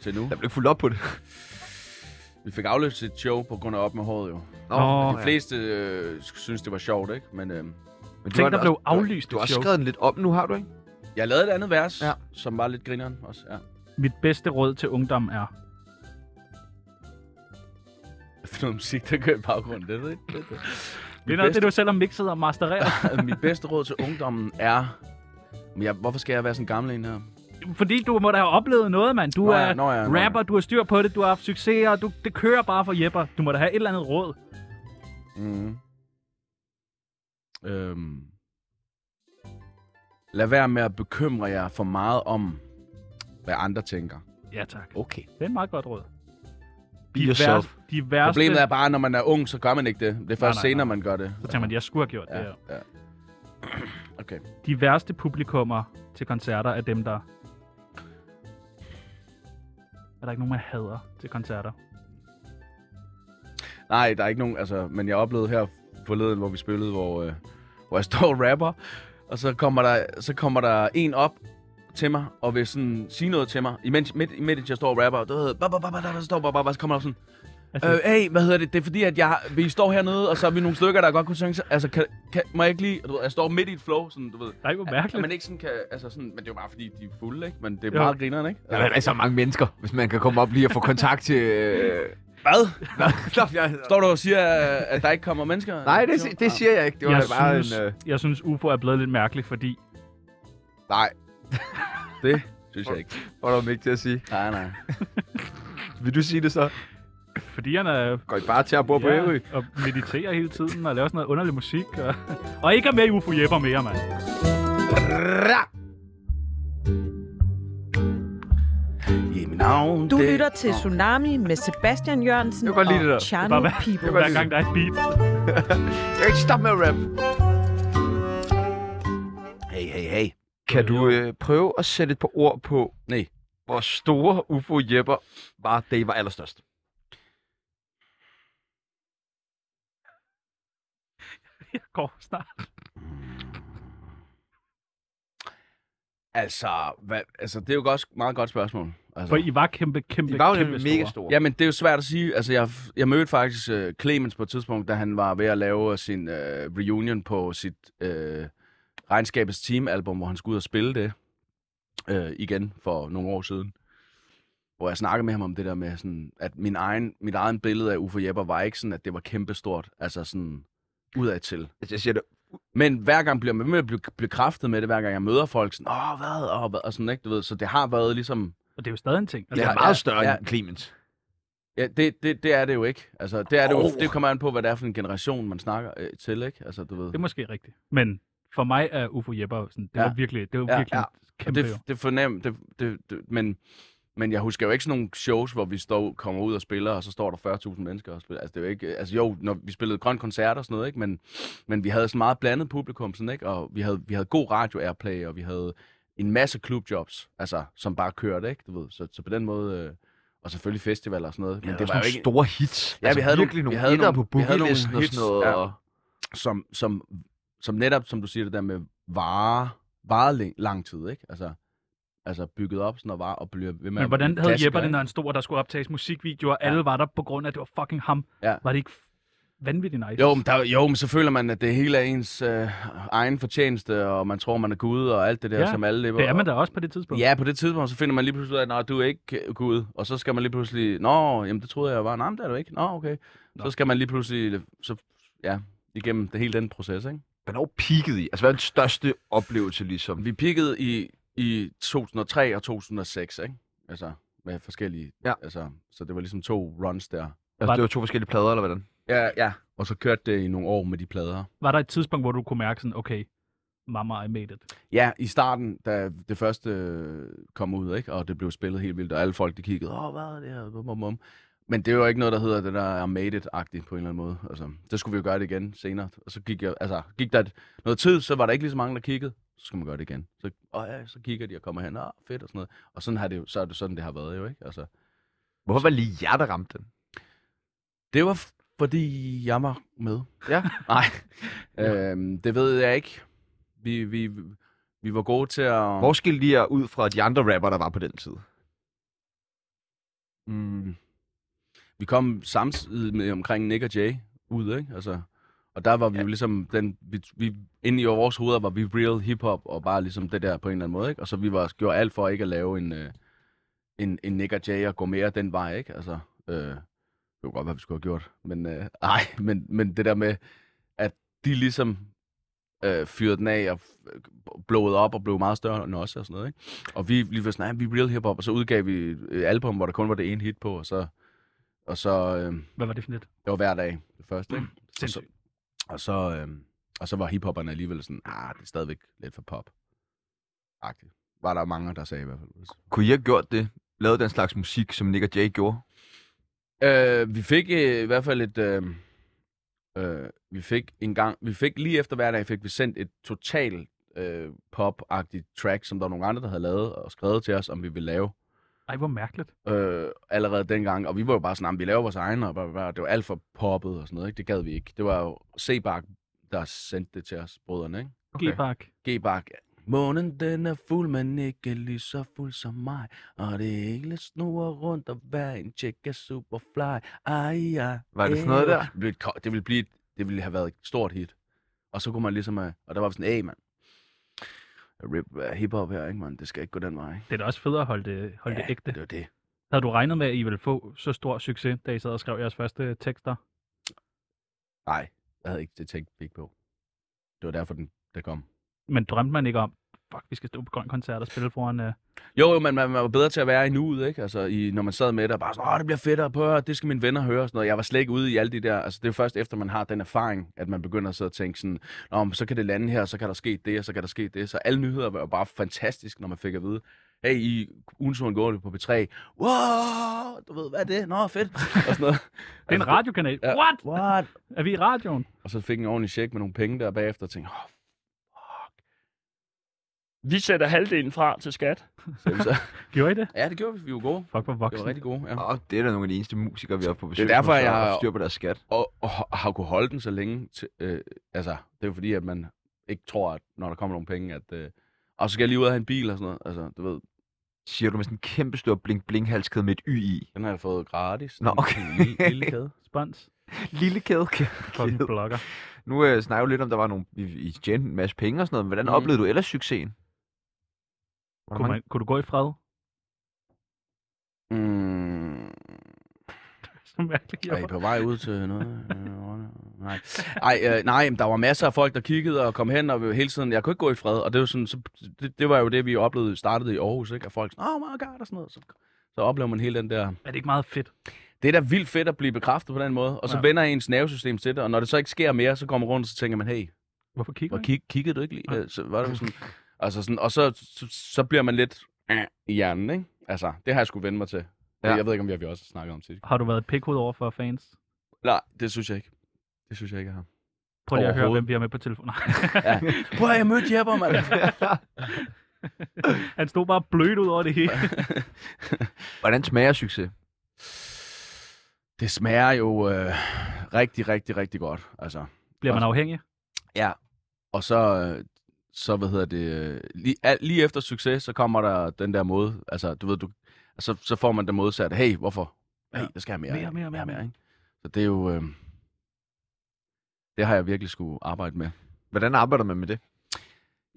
S4: til nu.
S1: der blev ikke fuldt op på det.
S4: Vi fik afløst et show på grund af op med håret jo.
S1: Nå,
S5: Nå,
S4: De fleste øh, synes, det var sjovt, ikke? Men øh,
S1: Men
S5: Tænk,
S1: har
S5: der
S1: da
S5: blev
S1: også- du har-
S5: aflyst
S1: Du har
S5: et
S1: også
S5: show.
S1: skrevet den lidt op nu, har du ikke?
S4: jeg lavede et andet vers,
S1: Ja.
S4: ja. som var lidt grineren også. Ja. *laughs*
S5: Mit bedste råd til ungdom er...
S4: For noget musik, der kører i baggrunden, det ved jeg
S1: *laughs*
S4: ikke. Det,
S5: Det er noget, det du selv har mixet og mastereret.
S4: *laughs* det. Mit bedste råd til ungdommen er... Men jeg, hvorfor skal jeg være sådan en gammel en her?
S5: Fordi du må da have oplevet noget, mand. Du
S4: Nå ja,
S5: er
S4: nå ja, nå ja.
S5: rapper, du har styr på det, du har haft succes, og du, det kører bare for Jepper. Du må da have et eller andet råd.
S4: Mm. Øhm. Lad være med at bekymre jer for meget om, hvad andre tænker.
S5: Ja, tak.
S4: Oh.
S1: Okay.
S5: Det er et meget godt råd.
S1: Be yourself.
S5: værste- de værste,
S4: Problemet er bare, at når man er ung, så gør man ikke det. Det er først
S5: nej,
S4: senere,
S5: nej.
S4: man gør det.
S5: Så tænker man, jeg skulle have gjort det
S4: ja.
S5: her.
S4: Okay.
S5: De værste publikummer til koncerter er dem, der... Er der ikke nogen, man hader til koncerter?
S4: Nej, der er ikke nogen, altså, men jeg oplevede her forleden, hvor vi spillede, hvor, øh, hvor jeg *laughs* står og rapper, og så kommer der, så kommer der en op til mig, og vil sådan sige noget til mig, imens, midt, imens jeg står og rapper, og du ved, ba, ba, ba, ba, da, da, står bare, bare, bare, så kommer der sådan,
S5: Altså,
S4: Øh, hey, hvad hedder det? Det er fordi, at jeg, vi står hernede, og så er vi nogle stykker, der godt kunne synge. så- Altså, kan, kan, må jeg ikke lige... Du ved, jeg står midt i et flow, sådan, du ved.
S5: Nej, hvor
S4: At
S5: mærkeligt.
S4: man ikke sådan kan... Altså sådan, men det er jo bare fordi, de er fulde, ikke? Men det er
S5: Jo.
S4: meget grineren, ikke?
S1: Der er heller ikke så mange mennesker, hvis man kan komme op lige og få kontakt til... Øh...
S4: Hvad?
S1: *laughs* Nå, jeg-
S4: Står du og siger, øh, at der ikke kommer mennesker?
S1: Nej, det, si- det siger jeg ikke. Det var
S5: jeg,
S1: da bare
S5: synes,
S1: en... Øh...
S5: jeg synes, UFO er blevet lidt mærkelig, fordi
S1: Nej,
S4: Det synes jeg ikke.
S1: var der ikke til at sige.
S4: Nej, nej.
S1: Vil du sige det så?
S5: fordi han er
S1: Går I bare til at bo på Ærø?
S5: ja, og mediterer hele tiden og laver sådan noget underlig musik. Og, *laughs* og ikke er med i UFO Jepper mere, mand.
S4: Yeah, mit navn,
S6: Du
S4: det...
S6: lytter til Tsunami med Sebastian Jørgensen
S1: Jeg kan godt lide det der.
S6: og Chano
S5: Bare hver-
S6: People.
S5: Hver gang der er et beat.
S1: Jeg kan ikke stoppe med at rap.
S4: Hey, hey, hey.
S1: Kan du øh, prøve at sætte et par ord på,
S4: Nej.
S1: hvor store UFO Jepper var, da I var allerstørst?
S5: Jeg går snart.
S4: Altså, hvad, altså, det er jo godt, meget godt spørgsmål. Altså.
S5: For I var kæmpe, kæmpe,
S1: I var jo
S5: kæmpe
S1: nemlig mega
S5: store.
S1: store.
S4: Jamen, det er jo svært at sige. Altså, jeg, jeg mødte faktisk øh, Clemens på et tidspunkt, da han var ved at lave sin øh, reunion på sit øh, Regnskabets Team-album, hvor han skulle ud og spille det øh, igen for nogle år siden. Hvor jeg snakkede med ham om det der med, sådan, at min egen, mit egen billede af Uffe Jepper var ikke sådan, at det var kæmpestort. Altså sådan udadtil.
S1: Altså, jeg siger det.
S4: Men hver gang bliver man ved med at blive bekræftet med det, hver gang jeg møder folk, sådan, åh, hvad, åh, hvad, og sådan, ikke, du ved, så det har været ligesom,
S5: Og det er jo stadig en ting.
S1: Det
S5: Altså,
S1: er
S4: Ja, ja,
S1: meget større
S4: ja.
S1: end Clemens.
S4: Ja, det, det, det er det jo ikke. Altså, det, er det,
S1: Oh.
S4: jo, det kommer an på, hvad det er for en generation, man snakker øh, til, ikke? Altså, du ved.
S5: Det er måske rigtigt. Men for mig er UFO Jepper sådan, det
S4: Ja.
S5: var virkelig, det var
S4: Ja,
S5: virkelig
S4: ja.
S5: kæmpe.
S4: det,
S5: jo.
S4: det fornem, det, det, det, men, men jeg husker jo ikke sådan nogle shows, hvor vi står, kommer ud og spiller, og så står der 40.000 mennesker og spiller. Altså, det er jo ikke, altså jo, når vi spillede grøn koncert og sådan noget, ikke? Men, men vi havde sådan meget blandet publikum, sådan, ikke? Og vi havde, vi havde god radio airplay, og vi havde en masse klubjobs, altså, som bare kørte, ikke? Du ved, så, så på den måde... Øh, og selvfølgelig festivaler og sådan noget.
S1: Men det var jo ikke... store hits. Altså,
S4: Ja, vi havde Altså, nogle-
S1: virkelig
S4: vi
S1: nogle,
S4: havde
S1: etter
S4: nogle-
S1: på
S4: vi havde nogle
S1: bookielisten og sådan
S4: hits,
S1: noget.
S4: ja.
S1: Og...
S4: som, som, som netop, som du siger, det der med vare, vare læ- lang tid, ikke? Altså, altså bygget op sådan og vare, og bliver ved med
S5: Men
S4: at-
S5: hvordan havde
S4: klassiker,
S5: Jepper det,
S4: ikke?
S5: når han stod, og der skulle optages musikvideoer, og alle var der på grund af, at det var fucking ham?
S4: Ja.
S5: Var det ikke vanvittigt nice.
S4: Jo men, der, jo, men så føler man, at det hele er ens øh, egen fortjeneste, og man tror, man er Gud og alt det der,
S5: Ja,
S4: som alle lever.
S5: det er man da også på det tidspunkt.
S4: Ja, på det tidspunkt, så finder man lige pludselig ud af, at du er ikke øh, Gud. Og så skal man lige pludselig, nå, jamen det troede jeg var, nej, men det er du ikke. Nå, okay. Nå. Så skal man lige pludselig, så, ja, igennem det, hele den proces, ikke?
S1: Hvornår peakede I? Altså, hvad er den største oplevelse, ligesom?
S4: Vi peakede i, i 2003 og 2006, ikke? Altså, med forskellige,
S1: Ja.
S4: altså, så det var ligesom to runs der.
S1: Altså, det var to forskellige plader, eller hvordan?
S4: Ja, ja. Og så kørte det i nogle år med de plader.
S5: Var der et tidspunkt, hvor du kunne mærke sådan, okay, mama, I made it.
S4: Ja, i starten, da det første øh, kom ud, ikke? og det blev spillet helt vildt, og alle folk de kiggede, åh, hvad er det her? Bum, bum, bum. Men det var ikke noget, der hedder det der er made it-agtigt på en eller anden måde. Altså, så skulle vi jo gøre det igen senere. Og så gik, jeg, altså, gik der et, noget tid, så var der ikke lige så mange, der kiggede. Så skulle man gøre det igen. Så, åh, ja, så kigger de og kommer hen, åh, fedt og sådan noget. Og sådan har det jo, så er det sådan, det har været jo, ikke? Altså,
S1: Hvorfor var det lige jer, der ramte den?
S4: det var f- fordi, jeg var med. Ja. *laughs* Nej, øhm, det ved jeg ikke. Vi, vi, vi var gode til at...
S1: Hvor skilte de jer ud fra de andre rapper, der var på den tid?
S4: Mm. Vi kom samtidig med omkring Nick og Jay ud, ikke? Altså, og der var vi ja. jo ligesom, den, vi, vi, inde i vores hoveder var vi real hiphop, og bare ligesom det der på en eller anden måde, ikke? Og så vi var, gjorde alt for ikke at lave en, øh, en, en Nick og Jay og gå mere den vej, ikke? Altså, øh, det var godt, hvad vi skulle have gjort, men øh, *laughs* ej, men, men det der med, at de ligesom øh, fyrede den af og f- blowede op og blev meget større end os og sådan noget, ikke? Og vi lige var sådan, "Ej, vi er real hiphop, og så udgav vi et album, hvor der kun var det ene hit på, og så, og så øh,
S5: Hvad var det for lidt?
S4: det var hver dag det første, ikke? Og så,
S5: Sindssygt.
S4: og så, øh, og så var hiphopperne alligevel sådan, ah, det er stadigvæk lidt for pop. Agtigt. Var der mange, der sagde i hvert fald.
S1: Kunne I have gjort det? Lavet den slags musik, som Nick og Jay gjorde?
S4: Øh, vi fik øh, i hvert fald et... Øh, øh, vi fik en gang... Vi fik lige efter hver dag, fik vi sendt et total øh, pop-agtigt track, som der var nogle andre, der havde lavet og skrevet til os, om vi ville lave.
S5: Ej, hvor mærkeligt.
S4: øh, allerede dengang, og vi var jo bare sådan, "Jamen, vi laver vores egne, og bla, bla, bla." det var alt for poppet og sådan noget, ikke? det gad vi ikke. Det var jo Sebak, der sendte det til os, brødrene, ikke?
S5: Okay. G-Bak.
S4: G-Bak, Månen den er fuld, men ikke lige så fuld som mig. Og det hele snurrer rundt, og hver en tjek er superfly. Ej, ja.
S1: Var det sådan noget der?
S4: Det ville, ko- det ville, blive, et- det ville have været et stort hit. Og så kunne man ligesom, øh, og der var vi sådan, hey mand, rip øh, hiphop her, ikke mand? Det skal ikke gå den vej, ikke?
S5: Det er da også federe at holde det, holde ja, det ægte.
S4: Det var det.
S5: Havde du regnet med, at I ville få så stor succes, da I sad og skrev jeres første tekster?
S4: Nej, jeg havde ikke det tænkt ikke på. Det var derfor, den der kom.
S5: Men drømte man ikke om, fuck, vi skal stå på Grøn Koncert og spille foran... Uh...
S4: Jo, jo, men man, man var bedre til at være i nuet, ikke? Altså, i, når man sad med det, og bare sådan, åh, det bliver fedt at høre, det skal mine venner høre, og sådan noget. Jeg var slet ikke ude i alle de der, altså, det er jo først efter, man har den erfaring, at man begynder så at tænke sådan, Nå, men så kan det lande her, og så kan der ske det, og så kan der ske det. Så alle nyheder var jo bare fantastisk, når man fik at vide, hey, i ugen går det på P3, wow, du ved, hvad er det? Nå, fedt, og sådan noget.
S5: Det er en radiokanal.
S4: Altså, Ja.
S5: Ja. What?
S4: *laughs* What?
S5: Er vi i radioen?
S4: Og så fik en ordentlig check med nogle penge der bagefter, og tænkte, åh,
S7: Vi sætter halvdelen fra til
S4: *laughs*
S7: skat.
S4: sagde vi så.
S5: Gjorde I det?
S4: Ja, det gjorde vi. Vi var gode.
S5: Fuck, hvor
S4: Vi
S5: voksen.
S4: var rigtig gode, ja.
S1: Åh, det er da nogle af de eneste musikere, vi har på besøg.
S4: derfor,
S1: nu, så
S4: jeg har-
S1: haft styr på deres skat.
S4: Og, og, og har kunne holde den så længe. Til, øh, altså, det er jo fordi, at man ikke tror, at når der kommer nogle penge, at... Øh, og så skal jeg lige ud og have en bil og sådan noget. Altså, du ved,
S1: Siger du med sådan en kæmpe stor blink-blink-halskæde med et y i.
S4: den har jeg fået gratis.
S1: Nå,
S4: Den-
S1: okay.
S4: en lille, lille *laughs* kæde.
S5: Spons.
S1: Lille kæde.
S5: Fucking blogger.
S1: Nu øh, snakker vi lidt om, der var nogle, I, I tjente en masse penge og sådan noget. Men hvordan
S4: Mm.
S1: mm. oplevede du ellers succesen? Var der
S5: Kunne,
S1: mange-
S5: man, kunne du gå i fred? *laughs*
S4: Mm,
S5: Så mærkeligt.
S4: er I
S5: Jeg
S4: på vej ud til noget? *laughs* Øh, Nej, Ej, øh, nej, men der var masser af folk, der kiggede og kom hen, og vi- hele tiden, jeg kunne ikke gå i fred, og det var, sådan, så, det, det var jo det, vi oplevede, startede i Aarhus, ikke? og folk sådan, oh my god, og sådan noget, så, så oplever man hele den der,
S5: er det ikke meget fedt?
S4: det er da vildt fedt at blive bekræftet på den måde, og så
S5: Ja.
S4: ja. vender ens nervesystem til det, og når det så ikke sker mere, så kommer man rundt, og så tænker man, hey,
S5: Hvorfor kigger
S4: hvor
S5: du? ikke?
S4: kig, kiggede du ikke lige?
S5: Ja.
S4: Øh, Så var det jo sådan, altså sådan, og så, så, så bliver man lidt øh, i hjernen, ikke? Altså, det har jeg skulle vende mig til. Ja.
S1: Ja.
S4: Jeg ved ikke, om vi har vi også snakket om det.
S5: Har du været et pikhoved over for fans?
S4: Nej, det synes jeg ikke. Det synes jeg ikke, jeg har.
S5: Prøv lige at høre,
S4: Overhovedet.
S5: hvem vi har med på telefonen.
S4: Ja. Prøv at jeg mødte Jepper, mand.
S5: *laughs* Han stod bare blødt ud over
S4: *laughs*
S5: det hele.
S1: Hvordan smager succes?
S4: *laughs* Det smager jo øh, rigtig, rigtig, rigtig godt. Altså,
S5: Bliver man afhængig?
S4: Og så, øh, så hvad hedder det, øh, lige, al- lige efter succes, så kommer der den der måde, altså du ved, du, så, så får man den modsatte, hey, hvorfor? Hey,
S5: Ja.
S4: der skal jeg mere.
S5: Mere,
S4: ikke?
S5: mere, mere, mere.
S4: ikke? Så det er jo, øh, Det har jeg virkelig skulle arbejde med.
S1: Hvordan arbejder man med det?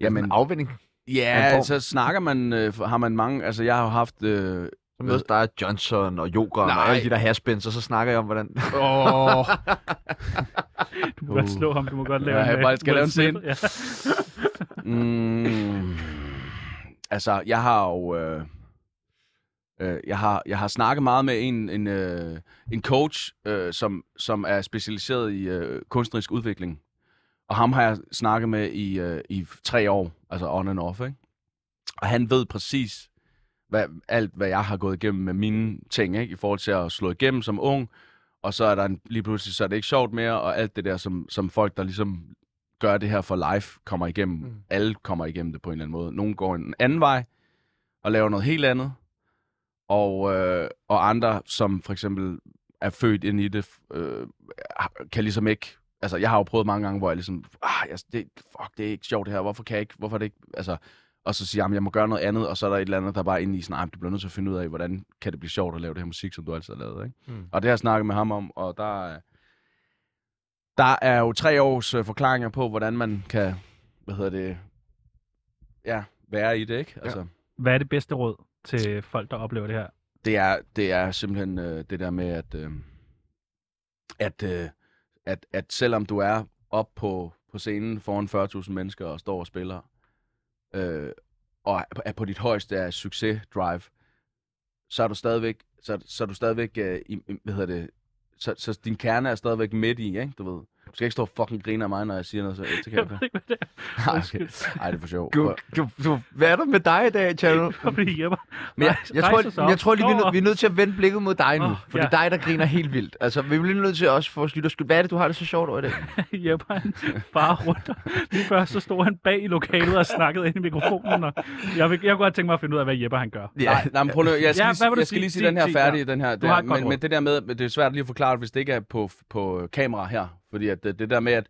S1: Jamen,
S4: Jamen,
S1: afvinding.
S4: ja,
S1: man får-
S4: så snakker man, øh, har man mange, altså jeg har jo haft, øh,
S1: Så mødes der er Johnson og Jokeren og
S4: Nej.
S1: alle de der haspins, og så snakker jeg om, hvordan...
S4: åh,
S5: Du må godt
S4: Uh.
S5: slå ham, du må godt lave
S4: Ja, jeg
S5: øh,
S4: bare skal
S5: Will
S4: lave en scene.
S5: Smith. Ja.
S4: Mm, altså, jeg har jo... Øh, øh, jeg, har, jeg har snakket meget med en, en, øh, en coach, øh, som, som er specialiseret i øh, kunstnerisk udvikling. Og ham har jeg snakket med i, øh, i tre år, altså on and off, ikke? Og han ved præcis hvad, alt, hvad jeg har gået igennem med mine ting, ikke? I forhold til at slå igennem som ung, og så er der en, lige pludselig, så er det ikke sjovt mere, og alt det der, som, som folk, der ligesom gør det her for life, kommer igennem.
S1: Mm.
S4: Mm. Alle kommer igennem det på en eller anden måde. Nogle går en anden vej og laver noget helt andet, og, øh, og andre, som for eksempel er født ind i det, øh, kan ligesom ikke... Altså, jeg har jo prøvet mange gange, hvor jeg ligesom... Ah, jeg, det, fuck, det er ikke sjovt det her. Hvorfor kan jeg ikke... Hvorfor er det ikke... Altså, og så siger jeg, jeg må gøre noget andet, og så er der et eller andet, der bare er inde i sådan, "Ej, men du bliver nødt til at finde ud af, hvordan kan det blive sjovt at lave det her musik, som du altid har lavet, ikke?
S1: Mm.
S4: Mm. Og det har jeg snakket med ham om, og der er, der er jo tre års øh, forklaringer på, hvordan man kan, hvad hedder det, ja, være i det, ikke? Altså, ja.
S5: Hvad er det bedste råd til folk, der oplever det her?
S4: det, er, det er simpelthen øh, det der med, at, øh, at, øh, at, at selvom du er op på, på scenen foran 40.000 mennesker og står og spiller, øh, og er- er på dit højeste af succes-drive, så er du stadigvæk, så, så er du stadigvæk øh, i, i- hvad hedder det, så, så din kerne er stadigvæk midt i, ikke? Du ved, du skal ikke stå og fucking grine af mig, når jeg siger noget, så det kan
S5: *laughs* Jeg
S4: jeg
S5: ved
S4: ikke.
S5: ikke, hvad
S4: *laughs*
S5: det
S4: Ej,
S5: Undskyld.
S4: okay. Ej, det er for sjov.
S1: Du, du, du, hvad er der med dig i dag, Channel?
S5: er. Kom lige hjemme.
S1: Men jeg,
S5: Rejs-
S1: jeg, tror,
S5: rejs os op.
S1: jeg, jeg tror lige, vi er,
S5: Stå
S1: nød,
S5: op.
S1: vi er nødt til at vende blikket mod dig nu.
S5: Åh,
S1: Oh, for det
S5: ja.
S1: er dig, der griner helt vildt. Altså, vi bliver nødt til også for os lytter skyld. Hvad er det, du har det så sjovt over i dag?
S5: Jeppe, han bare rundt. Lige før, så stod han bag i lokalet og snakkede ind i mikrofonen. Og jeg, vil, jeg kunne godt tænke mig at finde ud af, hvad Jeppe
S4: *laughs*
S5: han gør.
S4: Nej, nej, men prøv nu, jeg skal,
S5: Ja,
S4: ja,
S5: hvad
S4: lige,
S5: vil du
S4: jeg skal
S5: sige?
S4: lige sige
S5: Sig-
S4: den her
S5: sig,
S4: færdig,
S5: ja.
S4: den her.
S5: har
S4: Der,
S5: et godt
S4: men,
S5: råd.
S4: men det der med, det er svært lige at forklare, hvis det ikke er på, på øh, kamera her. Fordi at øh, det, det der med, at,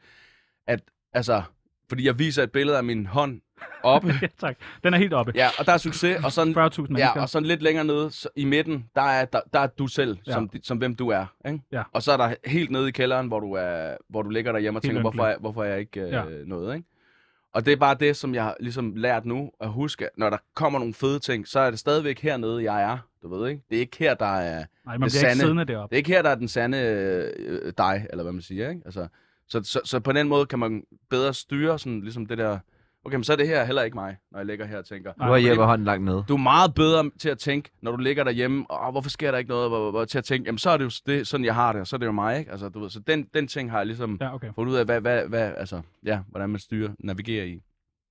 S4: at altså, fordi jeg viser et billede af min hånd oppe.
S5: Ja, tak. Den er helt oppe.
S4: ja, og der er succes, og sådan,
S5: 40.000 mennesker.
S4: ja, og sådan lidt længere nede så, i midten, der er, der, der er du selv,
S5: Ja.
S4: ja. som, som hvem du er. Ikke?
S5: Ja.
S4: Og så er der helt nede i kælderen, hvor du, er, hvor du ligger derhjemme og
S5: Helt
S4: tænker, hvorfor
S5: ynkelig.
S4: er, hvorfor er jeg ikke øh,
S5: Ja.
S4: noget, ikke? Og det er bare det, som jeg har ligesom lært nu, at huske, at når der kommer nogle fede ting, så er det stadigvæk hernede, jeg er. Du ved, ikke? Det er ikke her, der er,
S5: Nej, man
S4: det
S5: bliver ikke
S4: sande.
S5: siddende deroppe.
S4: det er ikke her, der er den sande øh, øh, dig, eller hvad man siger, ikke? Altså, så, så, så på den måde kan man bedre styre sådan ligesom det der, okay, men så er det her heller ikke mig, når jeg ligger her og tænker,
S1: Nu har
S4: fordi-
S1: Jeppe hånden langt nede.
S4: du er meget bedre til at tænke, når du ligger derhjemme, og hvorfor sker der ikke noget, hvor, hvor, hvor, til at tænke, jamen så er det jo s- det, sådan, jeg har det, og så er det jo mig, ikke? Altså, du ved, så den, den ting har jeg ligesom ja.
S5: Ja, okay.
S4: fundet ud af, hvad, hvad, hvad, altså, ja, hvordan man styrer, navigerer i.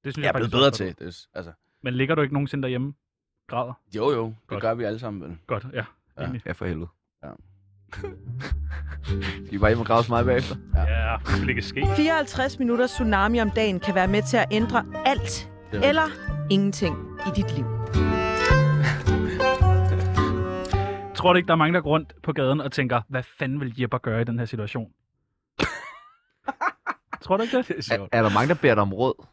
S5: Det synes
S4: Jeg er blevet
S5: faktisk
S4: bedre
S5: også er
S4: til, det, s- altså,
S5: godt. Men ligger du ikke nogensinde derhjemme? Græder?
S4: jo jo, det
S5: Godt.
S4: gør vi alle sammen, vel?
S5: Godt, ja.
S4: Ja.
S5: Enig.
S1: Ja, for helvede.
S4: Ja.
S1: *laughs* Skal I bare hjem og grave mig bagefter?
S5: Ja, det vil ikke ske.
S6: 54 minutter tsunami om dagen kan være med til at ændre alt
S4: rigtigt.
S6: eller ingenting i dit liv.
S5: Tror du ikke, der er mange, der går rundt på gaden og tænker, hvad fanden vil Jeppe gøre i den her situation? Tror du ikke det?
S1: Er, er der mange, der beder dig om råd?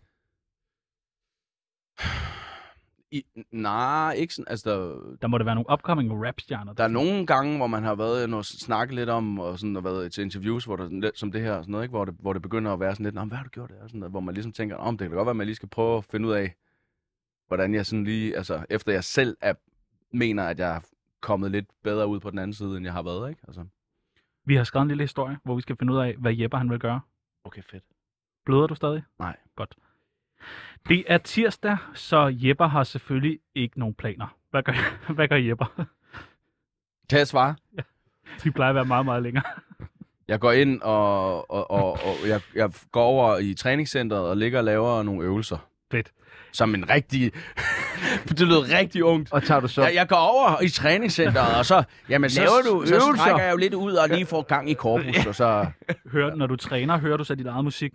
S4: I, nej, ikke sådan, altså, der,
S5: Der må der være nogle upcoming rapstjerner.
S4: der er nogle gange, hvor man har været inde og snakke lidt om, og sådan har været til interviews, hvor der, sådan lidt- som det her, og sådan noget, ikke? Hvor, det, hvor det begynder at være sådan lidt, "Nå, men hvad har du gjort der? Og Sådan noget, hvor man ligesom tænker, om det kan da godt være, at man lige skal prøve at finde ud af, hvordan jeg sådan lige, altså efter jeg selv er, mener, at jeg er kommet lidt bedre ud på den anden side, end jeg har været, ikke? Altså,
S5: Vi har skrevet en lille historie, hvor vi skal finde ud af, hvad Jeppe han vil gøre.
S4: okay, fedt.
S5: Bløder du stadig?
S4: Nej.
S5: Godt. Det er tirsdag, så Jeppe har selvfølgelig ikke nogen planer. Hvad gør, *laughs* hvad gør Jeppe?
S4: Kan jeg svare?
S5: De plejer at være meget, meget længere.
S4: Jeg går ind, og, og, og, og jeg, jeg går over i træningscenteret og ligger og laver nogle øvelser.
S5: Fedt.
S4: Som en rigtig... *laughs* det lød rigtig ungt.
S1: Og tager du så...
S4: Jeg, jeg går over i træningscenteret, og så, jamen, så,
S1: Laver du
S4: så
S1: øvelser?
S4: strækker jeg jo lidt ud og lige får gang i korpus, og så...
S5: Hør, når du træner, hører du så dit eget musik.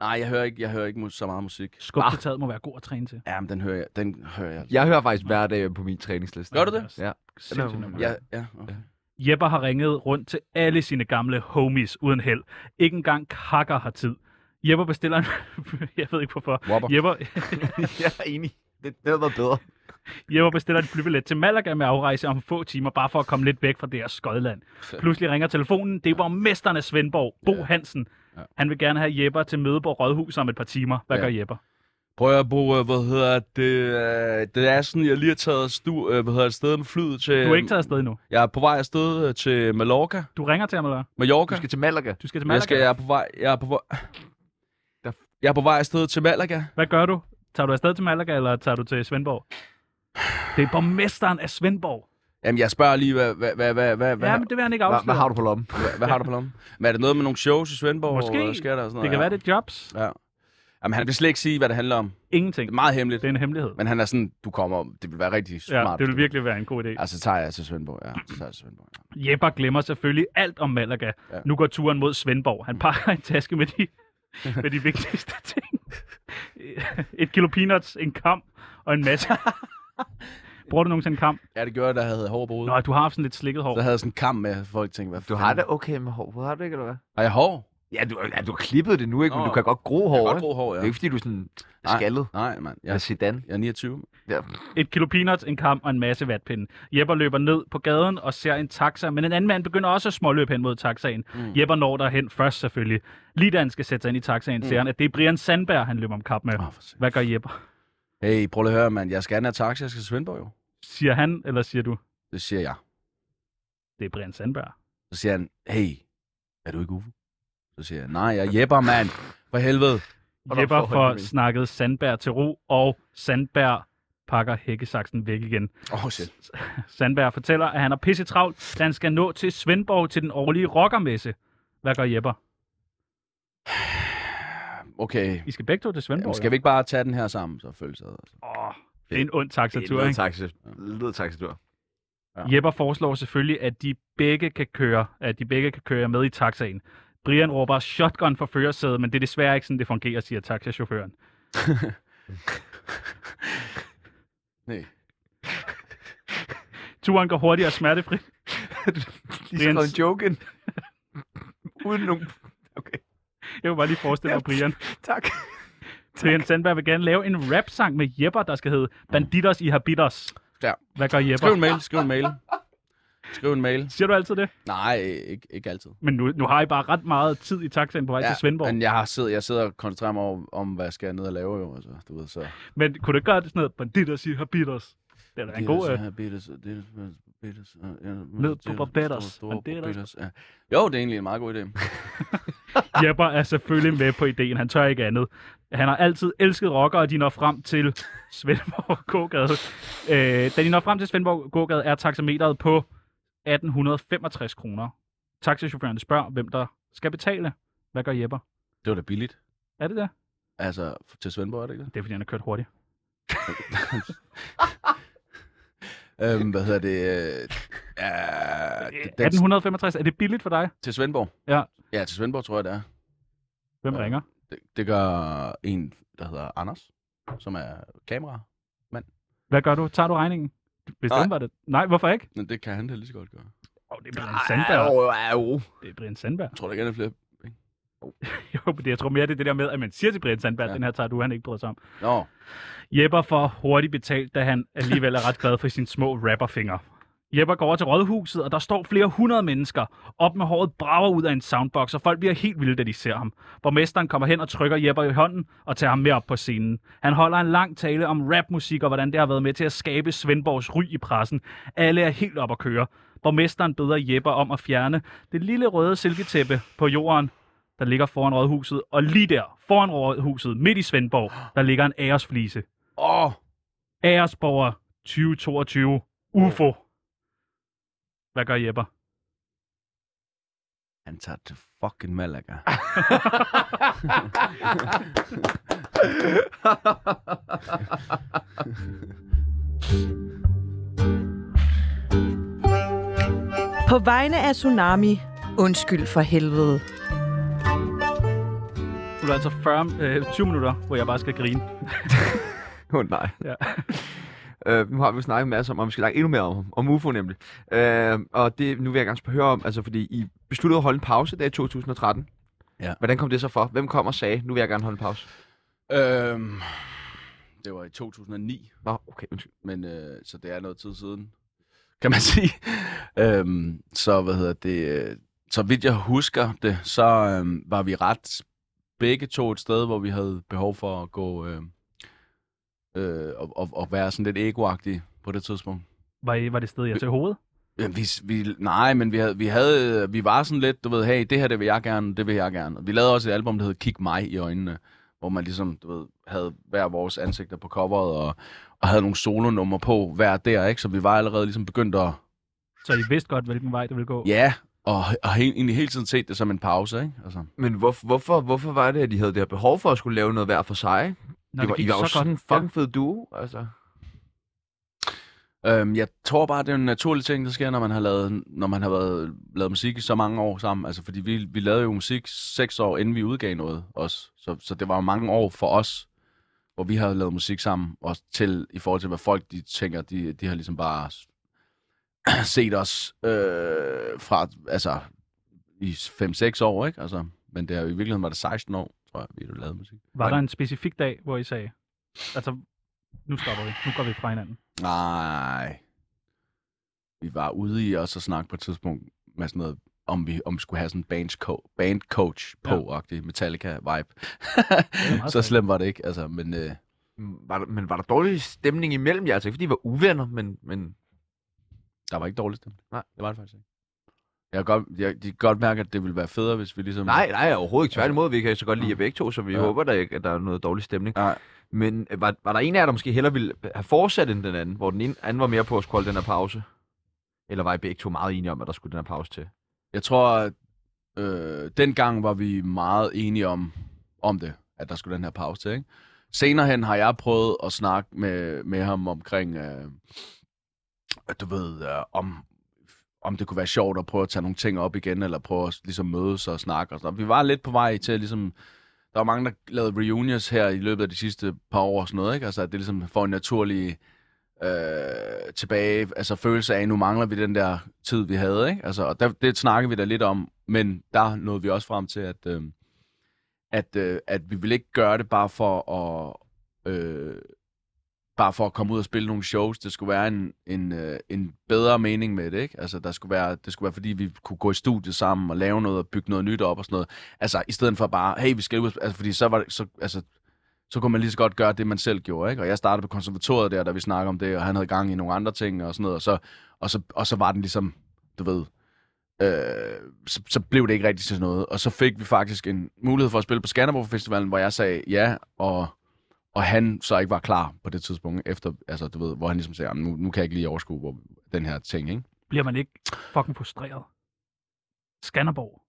S4: Nej, jeg hører ikke, jeg hører ikke mu- så meget musik.
S5: Skub til taget må være god at træne til.
S4: Ja, men den Ah. hører jeg. Den hører jeg.
S1: Jeg hører faktisk hver dag på min træningsliste. *laughs*
S4: Gør du det?
S1: Ja.
S5: Sindssygt nummer.
S4: Ja, ja. Okay.
S5: Jeppe har ringet rundt til alle sine gamle homies uden held. Ikke engang kakker har tid. Jeppe bestiller en... *laughs* jeg ved ikke hvorfor.
S4: Whopper.
S5: Jeppe,
S1: jeg er enig. Det, det havde været bedre.
S5: Jeppe bestiller en flybillet til Malaga med afrejse om få timer, bare for at komme lidt væk fra det her Skodland. Pludselig ringer telefonen. Det er borgmesteren af Svendborg, Bo Hansen.
S4: Ja.
S5: Han vil gerne have Jepper til møde på Rådhuset om et par timer. Hvad
S4: Ja.
S5: ja. gør Jepper?
S4: Prøv at bruge, øh, hvad hedder det, øh, det er sådan, jeg lige har taget stu, øh, hvad hedder det, stedet med flyet til...
S5: Du er ikke taget afsted endnu.
S4: Jeg er på vej afsted øh, til Mallorca.
S5: Du ringer til ham, eller hvad?
S1: Du
S4: Mallorca.
S1: skal til Malaga.
S5: Du skal til
S4: Jeg,
S5: Malaga.
S4: skal, jeg er på vej, jeg er på vej...
S1: Der-
S4: Jeg er på vej afsted til Malaga.
S5: Hvad gør du? Tager du afsted til Malaga, eller tager du til Svendborg? Det er borgmesteren af Svendborg.
S4: Jamen, jeg spørger lige, hvad, hvad, hvad, hvad, hvad,
S5: Hvad? Ja, men det vil han ikke
S1: Hvad,
S5: afsløre.
S1: hvad har du på lommen?
S4: hvad, hvad har du på lommen? Men er det noget med nogle shows i Svendborg?
S5: Måske.
S4: og Sker der og sådan noget?
S5: Det kan være, det er jobs.
S4: Ja. Jamen, han vil slet ikke sige, hvad det handler om.
S5: Ingenting.
S4: Det er meget hemmeligt.
S5: Det er en hemmelighed.
S4: Men han er sådan, du kommer, det vil være rigtig smart.
S5: Ja, det
S4: hvis
S5: vil
S4: du-
S5: virkelig være en god idé.
S4: Ja, så tager jeg til Svendborg. Ja, så tager jeg til Svendborg. Ja.
S5: Jepper glemmer selvfølgelig alt om Malaga.
S4: Ja. Mm.
S5: Ja. Nu går turen mod Svendborg. Han pakker en taske med
S4: *laughs*
S5: de, med de vigtigste ting. Et kilo peanuts, en kam og en
S4: *laughs*
S5: masse. Bruger du nogensinde en kam?
S4: Ja, det gjorde jeg, da jeg havde hår på hovedet.
S5: Nå, du har haft sådan lidt slikket hår.
S4: Så havde jeg sådan en kamp med, at folk tænkte, hvad
S1: Du har det okay med hår. Har du ikke, eller hvad?
S4: Har jeg hår?
S1: Ja, du, ja, du har klippet det nu, ikke? Men
S4: Nå.
S1: du kan godt gro
S4: Jeg
S1: hår,
S4: har godt
S1: ikke?
S4: gro hår,
S1: Det
S4: ja.
S1: er ikke, fordi du er sådan
S4: Nej.
S1: skaldet
S4: Nej, mand.
S1: ja.
S4: Jeg,
S1: med sedan.
S4: jeg er 29.
S1: Ja.
S5: Et kilo peanuts, en kam og en masse vatpinde. Jepper løber ned på gaden og ser en taxa, men en anden mand begynder også at småløbe hen mod taxaen. Mm. Jepper når derhen først selvfølgelig. Lige da han skal sætte sig ind i taxaen, mm. ser han, at det er Brian Sandberg, han løber om kap med.
S4: Åh, for satan.
S5: Hvad gør Jepper?
S4: Hey, prøv lige at høre, mand. Jeg skal have en taxa, jeg skal til Svendborg jo.
S5: Siger han, eller siger du,
S4: Det siger jeg.
S5: det er Brian Sandberg?
S4: Så siger han, hey, er du ikke Uffe? Så siger jeg, nej, jeg er Jepper, mand. For helvede.
S1: Hvordan
S5: Jepper
S1: får han
S5: får
S1: det med?
S5: snakket Sandberg til ro, og Sandberg pakker hækkesaksen væk igen.
S4: Åh, oh, shit.
S5: Sandberg fortæller, at han er pisse travlt, da han skal nå til Svendborg til den årlige rockermesse. Hvad gør Jepper?
S4: Okay.
S5: I skal begge to til Svendborg.
S4: Jamen, skal vi ikke bare tage den her sammen, så følges ad? Altså.
S5: Åh, det er en ond taxatur,
S1: en
S5: ikke?
S1: taxa, led *laughs* taxatur.
S4: Ja.
S5: Jepper foreslår selvfølgelig, at de begge kan køre, at de begge kan køre med i taxaen. Brian råber shotgun fra førersædet, men det er desværre ikke sådan, det fungerer, siger taxachaufføren.
S4: *laughs* Nej.
S5: *laughs* Turen går hurtigt og smertefrit.
S1: De
S5: Det er en-
S1: skrev en joke *laughs* ind. Uden nogen... Okay,
S5: Jeg vil bare lige forestille mig Brian.
S1: tak.
S5: Brian Sandberg vil gerne lave en rap-sang med Jepper, der skal hedde Banditos i Habitos.
S4: Ja.
S5: Hvad gør
S4: Skriv
S5: Jepper?
S4: en mail, skriv en mail. Skriv en mail.
S5: Siger du altid det?
S4: Nej, ikke, ikke altid.
S5: Men nu, nu har I bare ret meget tid i taxaen på vej ja, til Svendborg. Men,
S4: Men jeg, har siddet, jeg sidder og koncentrerer mig om, om, hvad jeg skal ned og lave, jo. Altså, du ved, så...
S5: men kunne du ikke gøre det sådan noget? Banditos i Habitos. Det er da en god... Øh,
S4: øh, Ned
S5: på Barbados. Banderas.
S4: Jo, det er egentlig en meget god idé.
S5: Jepper øh, er selvfølgelig med på ideen. Han tør ikke andet. Han har altid elsket rockere, og de når frem til Svendborg *laughs* Gågade. Øh, da de når frem til Svendborg Gågade, er taxameteret på 1865 kroner. Taxichaufføren spørger, hvem der skal betale. Hvad gør Jepper?
S4: Det var da billigt.
S5: Er det der?
S4: Altså, f- til Svendborg, er det ikke det?
S5: Det er, fordi han har kørt hurtigt.
S4: øhm, hvad hedder det? Øh,
S5: *laughs*
S4: ja,
S5: Øh,
S4: det- den,
S5: 1865, er det billigt for dig?
S4: til Svendborg?
S5: Ja.
S4: Ja, til Svendborg tror jeg, det er.
S5: Hvem
S4: Øh,
S5: ringer?
S4: Det, det gør en, der hedder Anders, som er kamera.
S5: Hvad gør du? Tager du regningen? Hvis
S4: Nej.
S5: den var det. Nej, hvorfor ikke?
S4: Men det kan han da lige så godt gøre.
S5: Oh, det er Brian Sandberg.
S1: Au, au.
S5: Det er Brian Sandberg.
S4: Jeg tror, der gerne er flere.
S5: *laughs* Jo, men det- jeg tror mere, det er det der med, at man siger til Brian Sandberg,
S4: Ja.
S5: ja. den her tager du, han ikke bryder sig om.
S4: Nå,
S5: Jepper får hurtigt betalt, da han alligevel er ret glad for sine små rapperfingre. Jepper går over til rådhuset, og der står flere hundrede mennesker. Op med håret brager ud af en soundbox, og folk bliver helt vilde, da de ser ham. Borgmesteren kommer hen og trykker Jepper i hånden og tager ham med op på scenen. Han holder en lang tale om rapmusik og hvordan det har været med til at skabe Svendborgs ry i pressen. Alle er helt op at køre. Borgmesteren beder Jepper om at fjerne det lille røde silketæppe på jorden, der ligger foran rådhuset. Og lige der, foran rådhuset, midt i Svendborg, der ligger en æresflise.
S4: åh,
S5: Æresborger 2022 UFO. Hvad gør Jepper?
S4: han tager til fucking Malaga.
S6: På vegne af Tsunami, undskyld for helvede.
S5: Nu er der altså 40, øh, 20 minutter, hvor jeg bare skal grine.
S1: Åh oh, nej.
S5: Ja.
S1: *laughs* Øh, nu har vi jo snakket en masse om, og vi skal snakke endnu mere om, om UFO nemlig. Øh, og det nu vil jeg gerne spørge høre om, altså fordi I besluttede at holde en pause der i 2013.
S4: Ja.
S1: Hvordan kom det så for? Hvem kom og sagde, nu vil jeg gerne holde en pause?
S4: øhm, det var i 2009.
S1: Nå, okay, undskyld.
S4: men øh, så *laughs* det er noget tid siden, kan man sige. øhm, så hvad hedder det? øh, så vidt jeg husker det, så øh, var vi ret begge to et sted, hvor vi havde behov for at gå øh, øh, og, og, og være sådan lidt egoagtige på det tidspunkt.
S5: Var, I, var det sted, jeg til hovedet?
S4: Ja, Vi, vi, nej, men vi, havde, vi, havde, øh, vi var sådan lidt, du ved, hey, det her det vil jeg gerne, det vil jeg gerne. Vi lavede også et album, der hed Kig mig i øjnene, hvor man ligesom, du ved, havde hver vores ansigter på coveret, og, og havde nogle solonummer på hver der, ikke? Så vi var allerede ligesom begyndt at,
S5: Så I vidste godt, hvilken vej det ville gå?
S4: ja, og, og he, egentlig hele tiden set det som en pause, ikke? Altså,
S1: Men hvor, hvorfor, hvorfor var det, at de havde det her behov for at skulle lave noget hver for sig? ikke?
S5: Når
S1: det var,
S5: gik
S1: I var jo
S5: så godt.
S1: sådan en fucking fed duo, altså.
S4: øhm, jeg tror bare, det er en naturlig ting, der sker, når man har lavet, når man har været, lavet musik i så mange år sammen. Altså, fordi vi, vi lavede jo musik seks år, inden vi udgav noget også. Så, så det var jo mange år for os, hvor vi har lavet musik sammen, og til i forhold til, hvad folk de tænker, de, de har ligesom bare *clears throat* s- set os øh, fra, altså, i 5-6 år, ikke? Altså, men det er jo, i virkeligheden var det 16 år, tror jeg, vi lavede musik.
S5: Var der en specifik dag, hvor I sagde, altså, nu stopper vi, nu går vi fra hinanden?
S4: Nej. Vi var ude i også at snakke på et tidspunkt med sådan noget, om vi, om vi skulle have sådan en bandco- bandcoach på, ja. Metallica-vibe.
S5: meget
S4: *laughs* så
S5: sejt.
S4: slemt var det ikke, altså, men... Øh,
S1: Mm, Var der, men var der dårlig stemning imellem jer? Altså ikke fordi I var uvenner, men, men
S4: Der var ikke dårlig stemning.
S1: Nej.
S4: det var det faktisk ikke. Jeg kan godt, jeg, de kan godt mærke, at det ville være federe, hvis vi ligesom...
S1: nej, nej, overhovedet ikke. Tværtimod, vi kan så godt lide jer begge to, så vi
S4: Ja.
S1: ja. håber da ikke, at der er noget dårlig stemning.
S4: Nej.
S1: Men øh, var, var der en af jer, der måske hellere ville have fortsat end den anden, hvor den ene anden var mere på at skulle holde den her pause? Eller var I begge to meget enige om, at der skulle den her pause til?
S4: Jeg tror, at øh, dengang var vi meget enige om, om det, at der skulle den her pause til. Ikke? Senere hen har jeg prøvet at snakke med, med ham omkring, øh, at du ved, øh, om, om det kunne være sjovt at prøve at tage nogle ting op igen, eller prøve at ligesom mødes og snakke. Og sådan. noget. Vi var lidt på vej til at ligesom, der var mange, der lavede reunions her i løbet af de sidste par år og sådan noget, ikke? Altså, at det ligesom får en naturlig øh, tilbage, altså følelse af, nu mangler vi den der tid, vi havde, ikke? Altså, og der, det snakker vi da lidt om, men der nåede vi også frem til, at, øh, at, øh, at vi vil ikke gøre det bare for at, øh, bare for at komme ud og spille nogle shows. Det skulle være en, en, øh, en bedre mening med det, ikke? Altså, der skulle være, det skulle være, fordi vi kunne gå i studiet sammen og lave noget og bygge noget nyt op og sådan noget. Altså, i stedet for bare, hey, vi skal ud, og sp-" altså, fordi så var det, så, altså, så kunne man lige så godt gøre det, man selv gjorde, ikke? Og jeg startede på konservatoriet der, da vi snakkede om det, og han havde gang i nogle andre ting og sådan noget, og så, og så, og så var den ligesom, du ved, øh, så, så blev det ikke rigtig til noget. Og så fik vi faktisk en mulighed for at spille på Skanderborg Festivalen, hvor jeg sagde ja, og, og han så ikke var klar på det tidspunkt, efter, altså, du ved, hvor han ligesom sagde, "Jamen, nu, nu kan jeg ikke lige overskue hvor, den her ting, ikke?
S5: Bliver man ikke fucking frustreret? Skanderborg.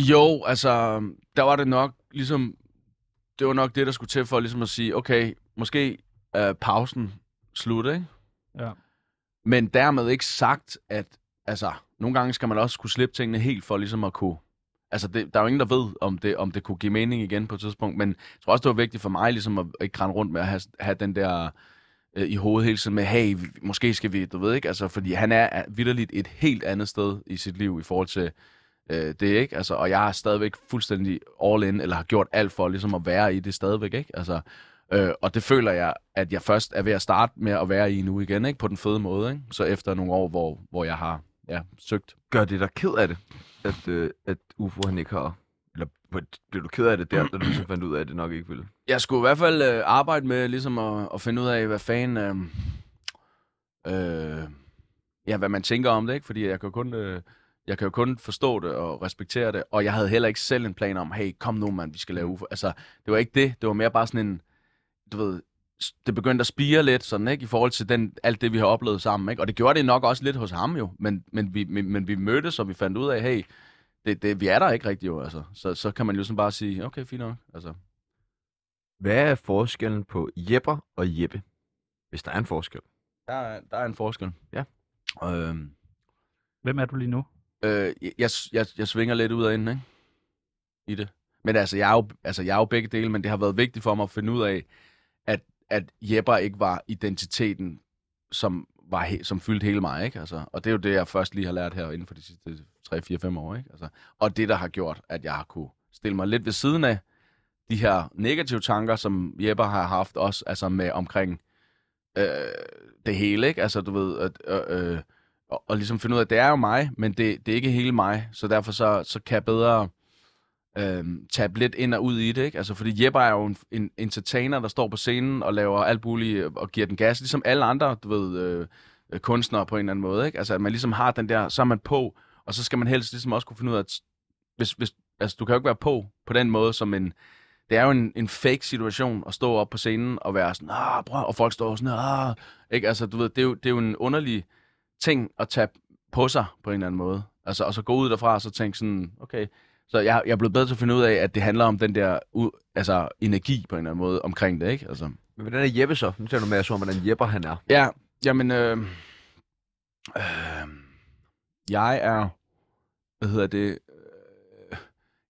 S4: Jo, altså, der var det nok ligesom, det var nok det, der skulle til for ligesom at sige, okay, måske er pausen slut, ikke?
S5: Ja.
S4: Men dermed ikke sagt, at altså, nogle gange skal man også kunne slippe tingene helt for ligesom at kunne... Altså, det, der er jo ingen, der ved, om det, om det kunne give mening igen på et tidspunkt, men jeg tror også, det var vigtigt for mig ligesom at ikke rende rundt med at have, have den der øh, i hovedet hele tiden med, hey, vi- måske skal vi, du ved ikke, altså, fordi han er er vitterligt et helt andet sted i sit liv i forhold til øh, det, ikke? Altså, og jeg er stadigvæk fuldstændig all in, eller har gjort alt for ligesom at være i det stadigvæk, ikke? Altså, øh, og det føler jeg, at jeg først er ved at starte med at være i nu igen, ikke? På den fede måde, ikke? Så efter nogle år, hvor, hvor jeg har ja, søgt.
S1: Gør det dig ked af det, at, øh, at Ufo han ikke har... Eller blev du ked af det der, da du så fandt ud af, at det nok ikke ville?
S4: Jeg skulle i hvert fald øh, arbejde med ligesom at, at finde ud af, hvad fanden... Øh, øh, ja, hvad man tænker om det, ikke? Fordi jeg kan jo kun... Øh, jeg kan jo kun forstå det og respektere det, og jeg havde heller ikke selv en plan om, hey, kom nu, mand, vi skal lave UFO. Altså, det var ikke det. Det var mere bare sådan en, du ved, s- det begyndte at spire lidt, sådan, ikke? I forhold til den, alt det, vi har oplevet sammen, ikke? Og det gjorde det nok også lidt hos ham jo, men, men, vi, men, men vi mødtes, og vi fandt ud af, hey, det, det, vi er der ikke rigtig jo, altså. Så, så kan man jo sådan bare sige, okay, fint nok, altså.
S1: Hvad er forskellen på Jepper og Jeppe? Hvis der er en forskel.
S4: Der er, der er en forskel.
S1: Ja.
S4: Øhm,
S5: Hvem er du lige nu?
S1: Mm.
S4: øh, jeg- jeg, jeg, jeg svinger lidt ud af enden, ikke? I det. Men altså jeg, er jo, altså, jeg er jo begge dele, men det har været vigtigt for mig at finde ud af, at, at Jepper ikke var identiteten, som, var he, som fyldte hele mig, ikke? Altså, og det er jo det, jeg først lige har lært her inden for de sidste 3-4-5 år, ikke? Altså, og det, der har gjort, at jeg har kunne stille mig lidt ved siden af de her negative tanker, som Jepper har haft også, altså med omkring øh, det hele, ikke? Altså, du ved, at, øh, øh, og, og ligesom finde ud af, at det er jo mig, men det, det er ikke hele mig, så derfor så, så kan jeg bedre øhm, tabe lidt ind og ud i det, ikke? Altså, fordi Jeppe er jo en, en entertainer, der står på scenen og laver alt muligt og giver den gas, ligesom alle andre, du ved, øh, øh, kunstnere på en eller anden måde, ikke? Altså, at man ligesom har den der, så er man på, og så skal man helst ligesom også kunne finde ud af, at hvis, hvis, altså, du kan jo ikke være på på den måde, som en, det er jo en, en fake situation at stå op på scenen og være sådan, ah, bror, og folk står sådan, ah, ikke? Altså, du ved, det er jo, det er jo en underlig ting at tage på sig på en eller anden måde. Altså, og så gå ud derfra og så tænke sådan, okay, så jeg, jeg er blevet bedre til at finde ud af, at det handler om den der u- altså, energi på en eller anden måde omkring det, ikke? Altså,
S1: Men hvordan er Jeppe så? Nu taler du med os om, hvordan Jeppe han er.
S4: Ja, jamen, øh, øh, jeg er, hvad hedder det, øh,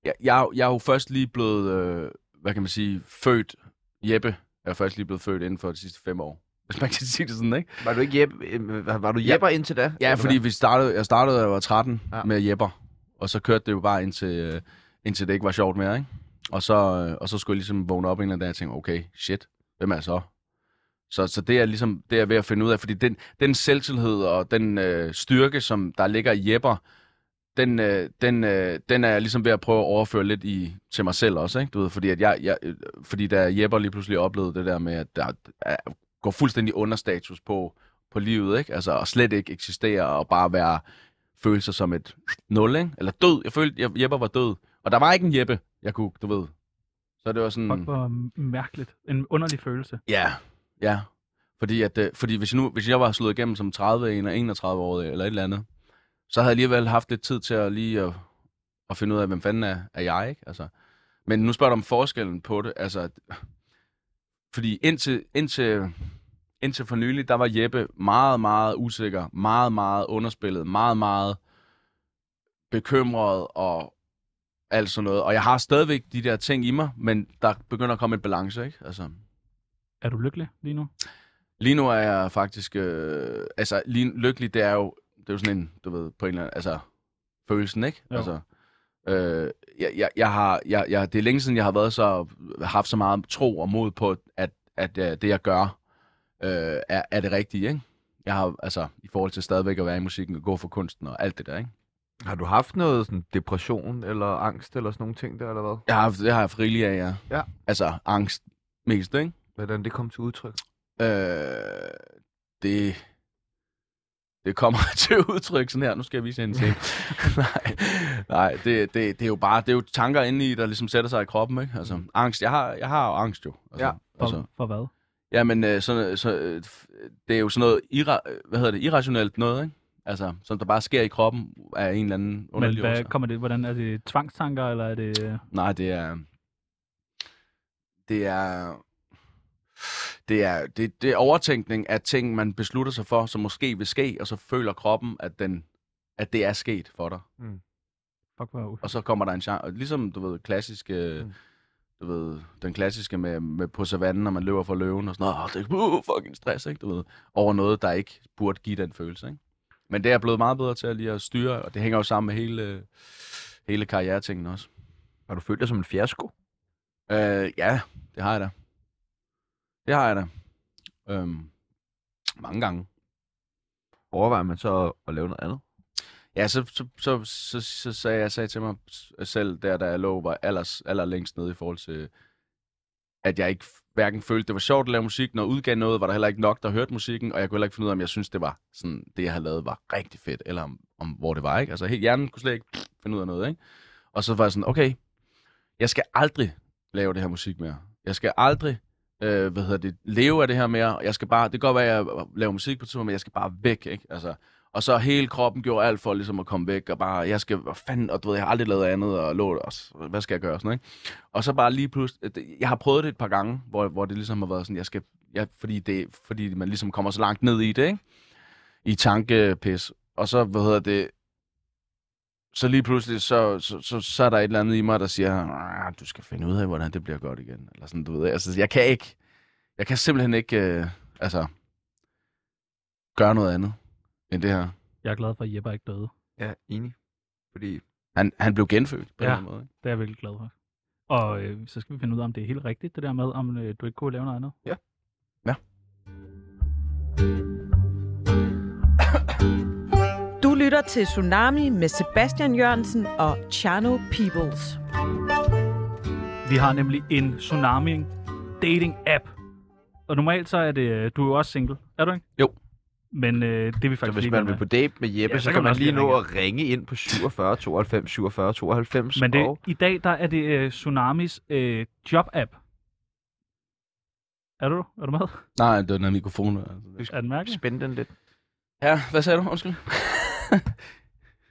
S4: jeg, jeg, jeg er jo først lige blevet, øh, hvad kan man sige, født, Jeppe er først lige blevet født inden for de sidste fem år, hvis man kan sige det sådan, ikke?
S1: Var du ikke Jeppe, øh, var var du Jeppe indtil da?
S4: Ja,
S1: Eller
S4: fordi
S1: hvad?
S4: vi startede, jeg startede, da jeg var 13
S1: Ja.
S4: ja. med Jepper, og så kørte det jo bare indtil, øh, indtil det ikke var sjovt mere, ikke? Og så, øh, og så skulle jeg ligesom vågne op en eller anden dag og tænke, okay, shit, hvem er jeg så? Så, så det er ligesom det er ved at finde ud af, fordi den, den selvtillid og den øh, styrke, som der ligger i Jepper, den, øh, den, øh, den er jeg ligesom ved at prøve at overføre lidt i, til mig selv også, ikke? Du ved, fordi, at jeg, jeg, øh, fordi da Jepper lige pludselig oplevede det der med, at der er, går fuldstændig understatus på, på livet, ikke? Altså, og slet ikke eksistere og bare være føle sig som et nul, ikke? Eller død. Jeg følte, jeg, Jeppe var død. Og der var ikke en Jeppe, jeg kunne, du ved. Så det var sådan...
S5: Fuck, hvor mærkeligt. En underlig følelse.
S4: Ja, ja. Fordi, at, øh, fordi hvis, jeg nu, hvis jeg var slået igennem som 30 eller 31 år eller et eller andet, så havde jeg alligevel haft lidt tid til at lige at, at finde ud af, hvem fanden er, er jeg, ikke? Altså, men nu spørger du om forskellen på det. Altså, at- fordi indtil, indtil, indtil for nylig, der var Jeppe meget, meget usikker, meget, meget underspillet, meget, meget bekymret og alt sådan noget. Og jeg har stadigvæk de der ting i mig, men der begynder at komme et balance, ikke? Altså,
S5: Er du lykkelig lige nu?
S4: Lige nu er jeg faktisk... Øh, altså, lige, lykkelig, det er jo... Det er jo sådan en, du ved, på en eller anden... Altså, følelsen, ikke?
S5: Jo.
S4: Altså, øh, jeg, jeg, jeg har, jeg, jeg, det er længe siden, jeg har været så, haft så meget tro og mod på, at, at øh, det, jeg gør, øh, er, er det rigtige, ikke? Jeg har, altså, i forhold til stadigvæk at være i musikken og gå for kunsten og alt det der, ikke?
S1: Har du haft noget sådan depression eller angst eller sådan nogle ting der, eller hvad?
S4: Jeg har, haft- det har jeg haft rigeligt af, ja.
S1: Ja.
S4: Altså, angst mest, ikke?
S1: Hvordan det kom til udtryk?
S4: Øh, det, det kommer *laughs* til udtryk sådan her. Nu skal jeg vise jer en
S5: *laughs*
S4: ting. *laughs* nej, nej det, det, det, er jo bare det er jo tanker inde i, der ligesom sætter sig i kroppen. Ikke? Altså,
S5: Mm.
S4: angst. Jeg har, jeg har jo angst jo. Altså,
S1: Ja.
S5: For, for hvad?
S4: Jamen, øh, så, så, øh, det er jo sådan noget ira- øh, hvad hedder det, irrationelt noget, ikke? Altså, som der bare sker i kroppen af en eller anden
S5: Men
S4: underlig
S5: hvad
S4: årsag.
S5: kommer det? Hvordan er det tvangstanker, eller er det... øh,
S4: Nej, det er... Det er... Det er, det, det er overtænkning af ting, man beslutter sig for, som måske vil ske, og så føler kroppen, at, den, at det er sket for dig.
S5: Fuck, hvor
S4: Og så kommer der en chance. og Ligesom, du ved, klassisk... Mm.
S1: Mm.
S4: Du ved, den klassiske med, med på savannen, når man løber fra løven og sådan noget. "Åh, Det er uh, fucking stress, ikke? Du ved, over noget, der ikke burde give den følelse, ikke? Men det er jeg blevet meget bedre til at lige at styre, og det hænger jo sammen med hele, hele karrieretingen også.
S1: Har du følt dig som en fiasko?
S4: Øh, ja, det har jeg da. Det har jeg da. Øhm, mange gange.
S1: Overvejer man så at, at lave noget andet?
S4: Ja, så, så, så, så, så sagde jeg sagde til mig selv, der da jeg lå, var allers, allerlængst nede i forhold til, at jeg ikke hverken følte, det var sjovt at lave musik, når jeg udgav noget, var der heller ikke nok, der hørte musikken, og jeg kunne heller ikke finde ud af, om jeg synes det var sådan, det jeg havde lavet var rigtig fedt, eller om, om hvor det var, ikke? Altså helt hjernen kunne slet ikke finde ud af noget, ikke? Og så var jeg sådan, okay, jeg skal aldrig lave det her musik mere. Jeg skal aldrig, øh, hvad hedder det, leve af det her mere. Jeg skal bare, det kan godt være, at jeg laver musik på tur, men jeg skal bare væk, ikke? Altså, og så hele kroppen gjorde alt for ligesom at komme væk, og bare, jeg skal, hvad fanden, og du ved, jeg har aldrig lavet andet, og lå, og s- hvad skal jeg gøre, sådan, ikke? Og så bare lige pludselig, at det- jeg har prøvet det et par gange, hvor, hvor det ligesom har været sådan, jeg skal, ja, fordi, det, fordi man ligesom kommer så langt ned i det, ikke? I tankepis. Og så, hvad hedder det, så lige pludselig, så, så, så, så er der et eller andet i mig, der siger, "Ah, du skal finde ud af, hvordan det bliver godt igen, eller sådan, du ved, altså, jeg kan ikke, jeg kan simpelthen ikke, øh, altså, gøre noget andet end det her.
S5: Jeg er glad for, at Jeppe er ikke døde.
S1: Ja, enig. Fordi
S4: Han, han blev genfødt på
S5: Ja.
S4: ja. en eller anden måde. ikke?
S5: Det er jeg virkelig glad for. Og øh, så skal vi finde ud af, om det er helt rigtigt, det der med, om øh, du ikke kunne lave noget andet.
S1: Ja.
S4: Ja.
S6: lytter til Tsunami med Sebastian Jørgensen og Chano Peoples.
S5: Vi har nemlig en tsunami dating app. Og normalt så er det, øh, du er jo også single, er du ikke?
S1: Jo.
S5: Men øh, det er vi
S1: Så
S5: faktisk
S1: hvis
S5: ligeglade
S1: man vil på date med Jeppe, ja, så, kan man
S5: også
S1: lige
S5: lige
S1: nå
S5: ringe.
S1: at ringe ind på 47 92 47 92.
S5: Men det,
S1: og...
S5: i dag der er det øh, Tsunamis øh, job-app. Er du, er du med?
S4: Nej, det var den her mikrofon. altså.
S5: Er den mærkelig?
S1: Spænd den lidt.
S4: Ja, hvad sagde du? Undskyld.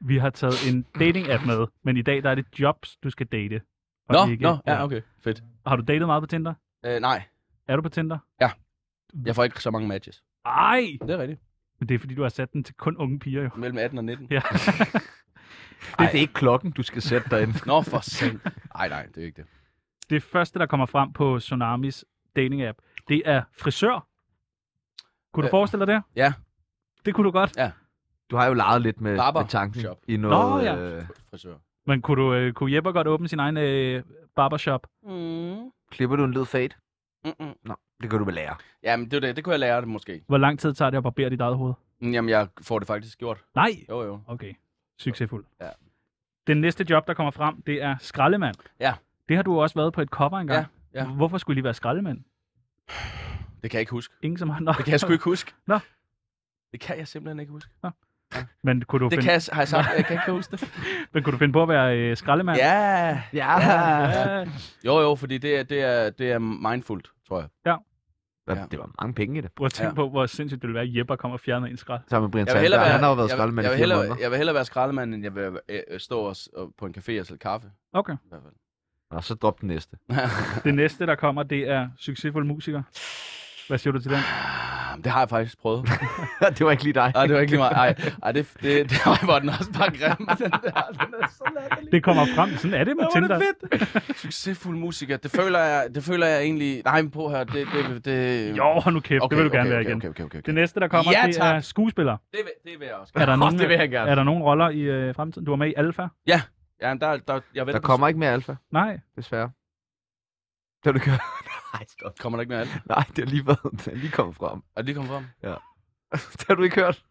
S5: Vi har taget en dating-app med, men i dag der er det jobs, du skal date. og
S4: Nå,
S5: ikke- øh,
S4: nå, ja, okay. Fedt.
S5: Har du datet meget på Tinder?
S4: Øh, nej,
S5: Er du på Tinder?
S4: jeg får ikke så mange matches.
S5: Ej!
S4: Det er rigtigt.
S5: Men det er fordi, du har sat den til kun unge piger, jo. *laughs*
S4: Mellem 18 og 19.
S5: Ja.
S1: Det, det er ikke klokken, du skal sætte dig ind.
S4: Nå, for sent. Nej, nej, det er ikke det.
S5: Det første, der kommer frem på Tsunamis dating-app, det er frisør. Kunne du
S4: Øh,
S5: forestille dig det?
S4: ja.
S5: Det kunne du godt.
S1: Du har jo leget lidt med,
S4: Barber
S1: med tanken
S4: shop.
S1: i noget...
S5: Nå, ja.
S1: øh,
S4: Frisør.
S5: Men kunne, du, øh, kunne Jeppe godt åbne sin egen øh, barbershop?
S4: Mm.
S1: klipper du en led fade?
S4: Mm-mm.
S1: Nå, det kan du vel lære.
S4: Jamen, det, er det. det kunne jeg lære det måske.
S5: Hvor lang tid tager det at barbere dit eget hoved?
S4: Mm, Jamen, jeg får det faktisk gjort.
S5: Nej!
S4: Jo, jo.
S5: Okay, succesfuld.
S4: Ja.
S5: Den næste job, der kommer frem, det er skraldemand.
S4: Ja.
S5: Det har du også været på et cover engang.
S4: ja.
S5: Hvorfor skulle I lige være skraldemand?
S4: Det kan jeg ikke huske.
S5: Ingen som har nok.
S4: Det kan jeg sgu ikke huske.
S5: Nå.
S4: Det kan jeg simpelthen ikke huske.
S5: *laughs* Men kunne du,
S4: Det
S5: finde,
S4: kan jeg, har jeg sagt, jeg kan ikke huske det.
S5: men kunne du finde på at være øh, skraldemand?
S4: *laughs* Ja.
S1: Ja.
S5: Ja.
S4: Jo, jo, fordi det er, det er, det er mindfuldt, tror jeg.
S1: ja. Det var mange penge i det.
S5: Prøv at tænke
S4: Ja.
S5: på, hvor sindssygt det ville være, at Jeppe kommer og fjerner en skrald.
S1: Sammen med Brian
S4: Jeg vil hellere
S1: Sandberg.
S4: være,
S1: Han har jo været
S4: jeg vil-
S1: skraldemand i
S4: jeg
S1: fire
S4: vil hellere-
S1: måneder.
S4: Jeg vil hellere være skraldemand, end jeg vil øh, øh, stå og, s- og på en café og sælge kaffe.
S5: Okay.
S4: I hvert fald.
S1: Nå, så drop den næste.
S5: Det næste, der kommer, det er succesfuld musiker. Hvad siger du til den?
S4: Ah, det har jeg faktisk *laughs* prøvet.
S1: *laughs* det var ikke lige dig.
S4: Nej, det var ikke lige meget. Ej, ej det, det, det ej, hvor er den også bare grim. *laughs* Den der, den er så latterlig.
S5: Det kommer frem. Sådan er det med
S4: Hvor
S5: Tinder.
S4: var det fedt. Succesfuld musiker. Det føler jeg, det føler jeg egentlig... Nej, men på her, det... det, det...
S5: Jo, hold nu kæft. det vil du gerne
S4: okay,
S5: være
S4: okay,
S5: igen.
S4: Okay, okay, okay, okay.
S5: Det næste, der kommer,
S4: Ja,
S5: det
S4: tak.
S5: er skuespiller.
S4: Det, vil- det vil jeg også
S5: Er
S4: gerne.
S5: der, nogen,
S1: det vil jeg gerne.
S5: er der nogen roller i øh, fremtiden? Du var med i Alfa?
S4: Ja, der, der, jeg venter
S1: Der
S4: på-
S1: kommer ikke mere alfa,
S5: Nej.
S1: desværre. Det vil du gøre. *laughs* Nej, stop.
S4: Kommer der ikke mere alt?
S1: Nej, det er lige, været, det er lige kommet frem. *laughs*
S4: Er det lige kommet frem?
S1: det har du ikke hørt.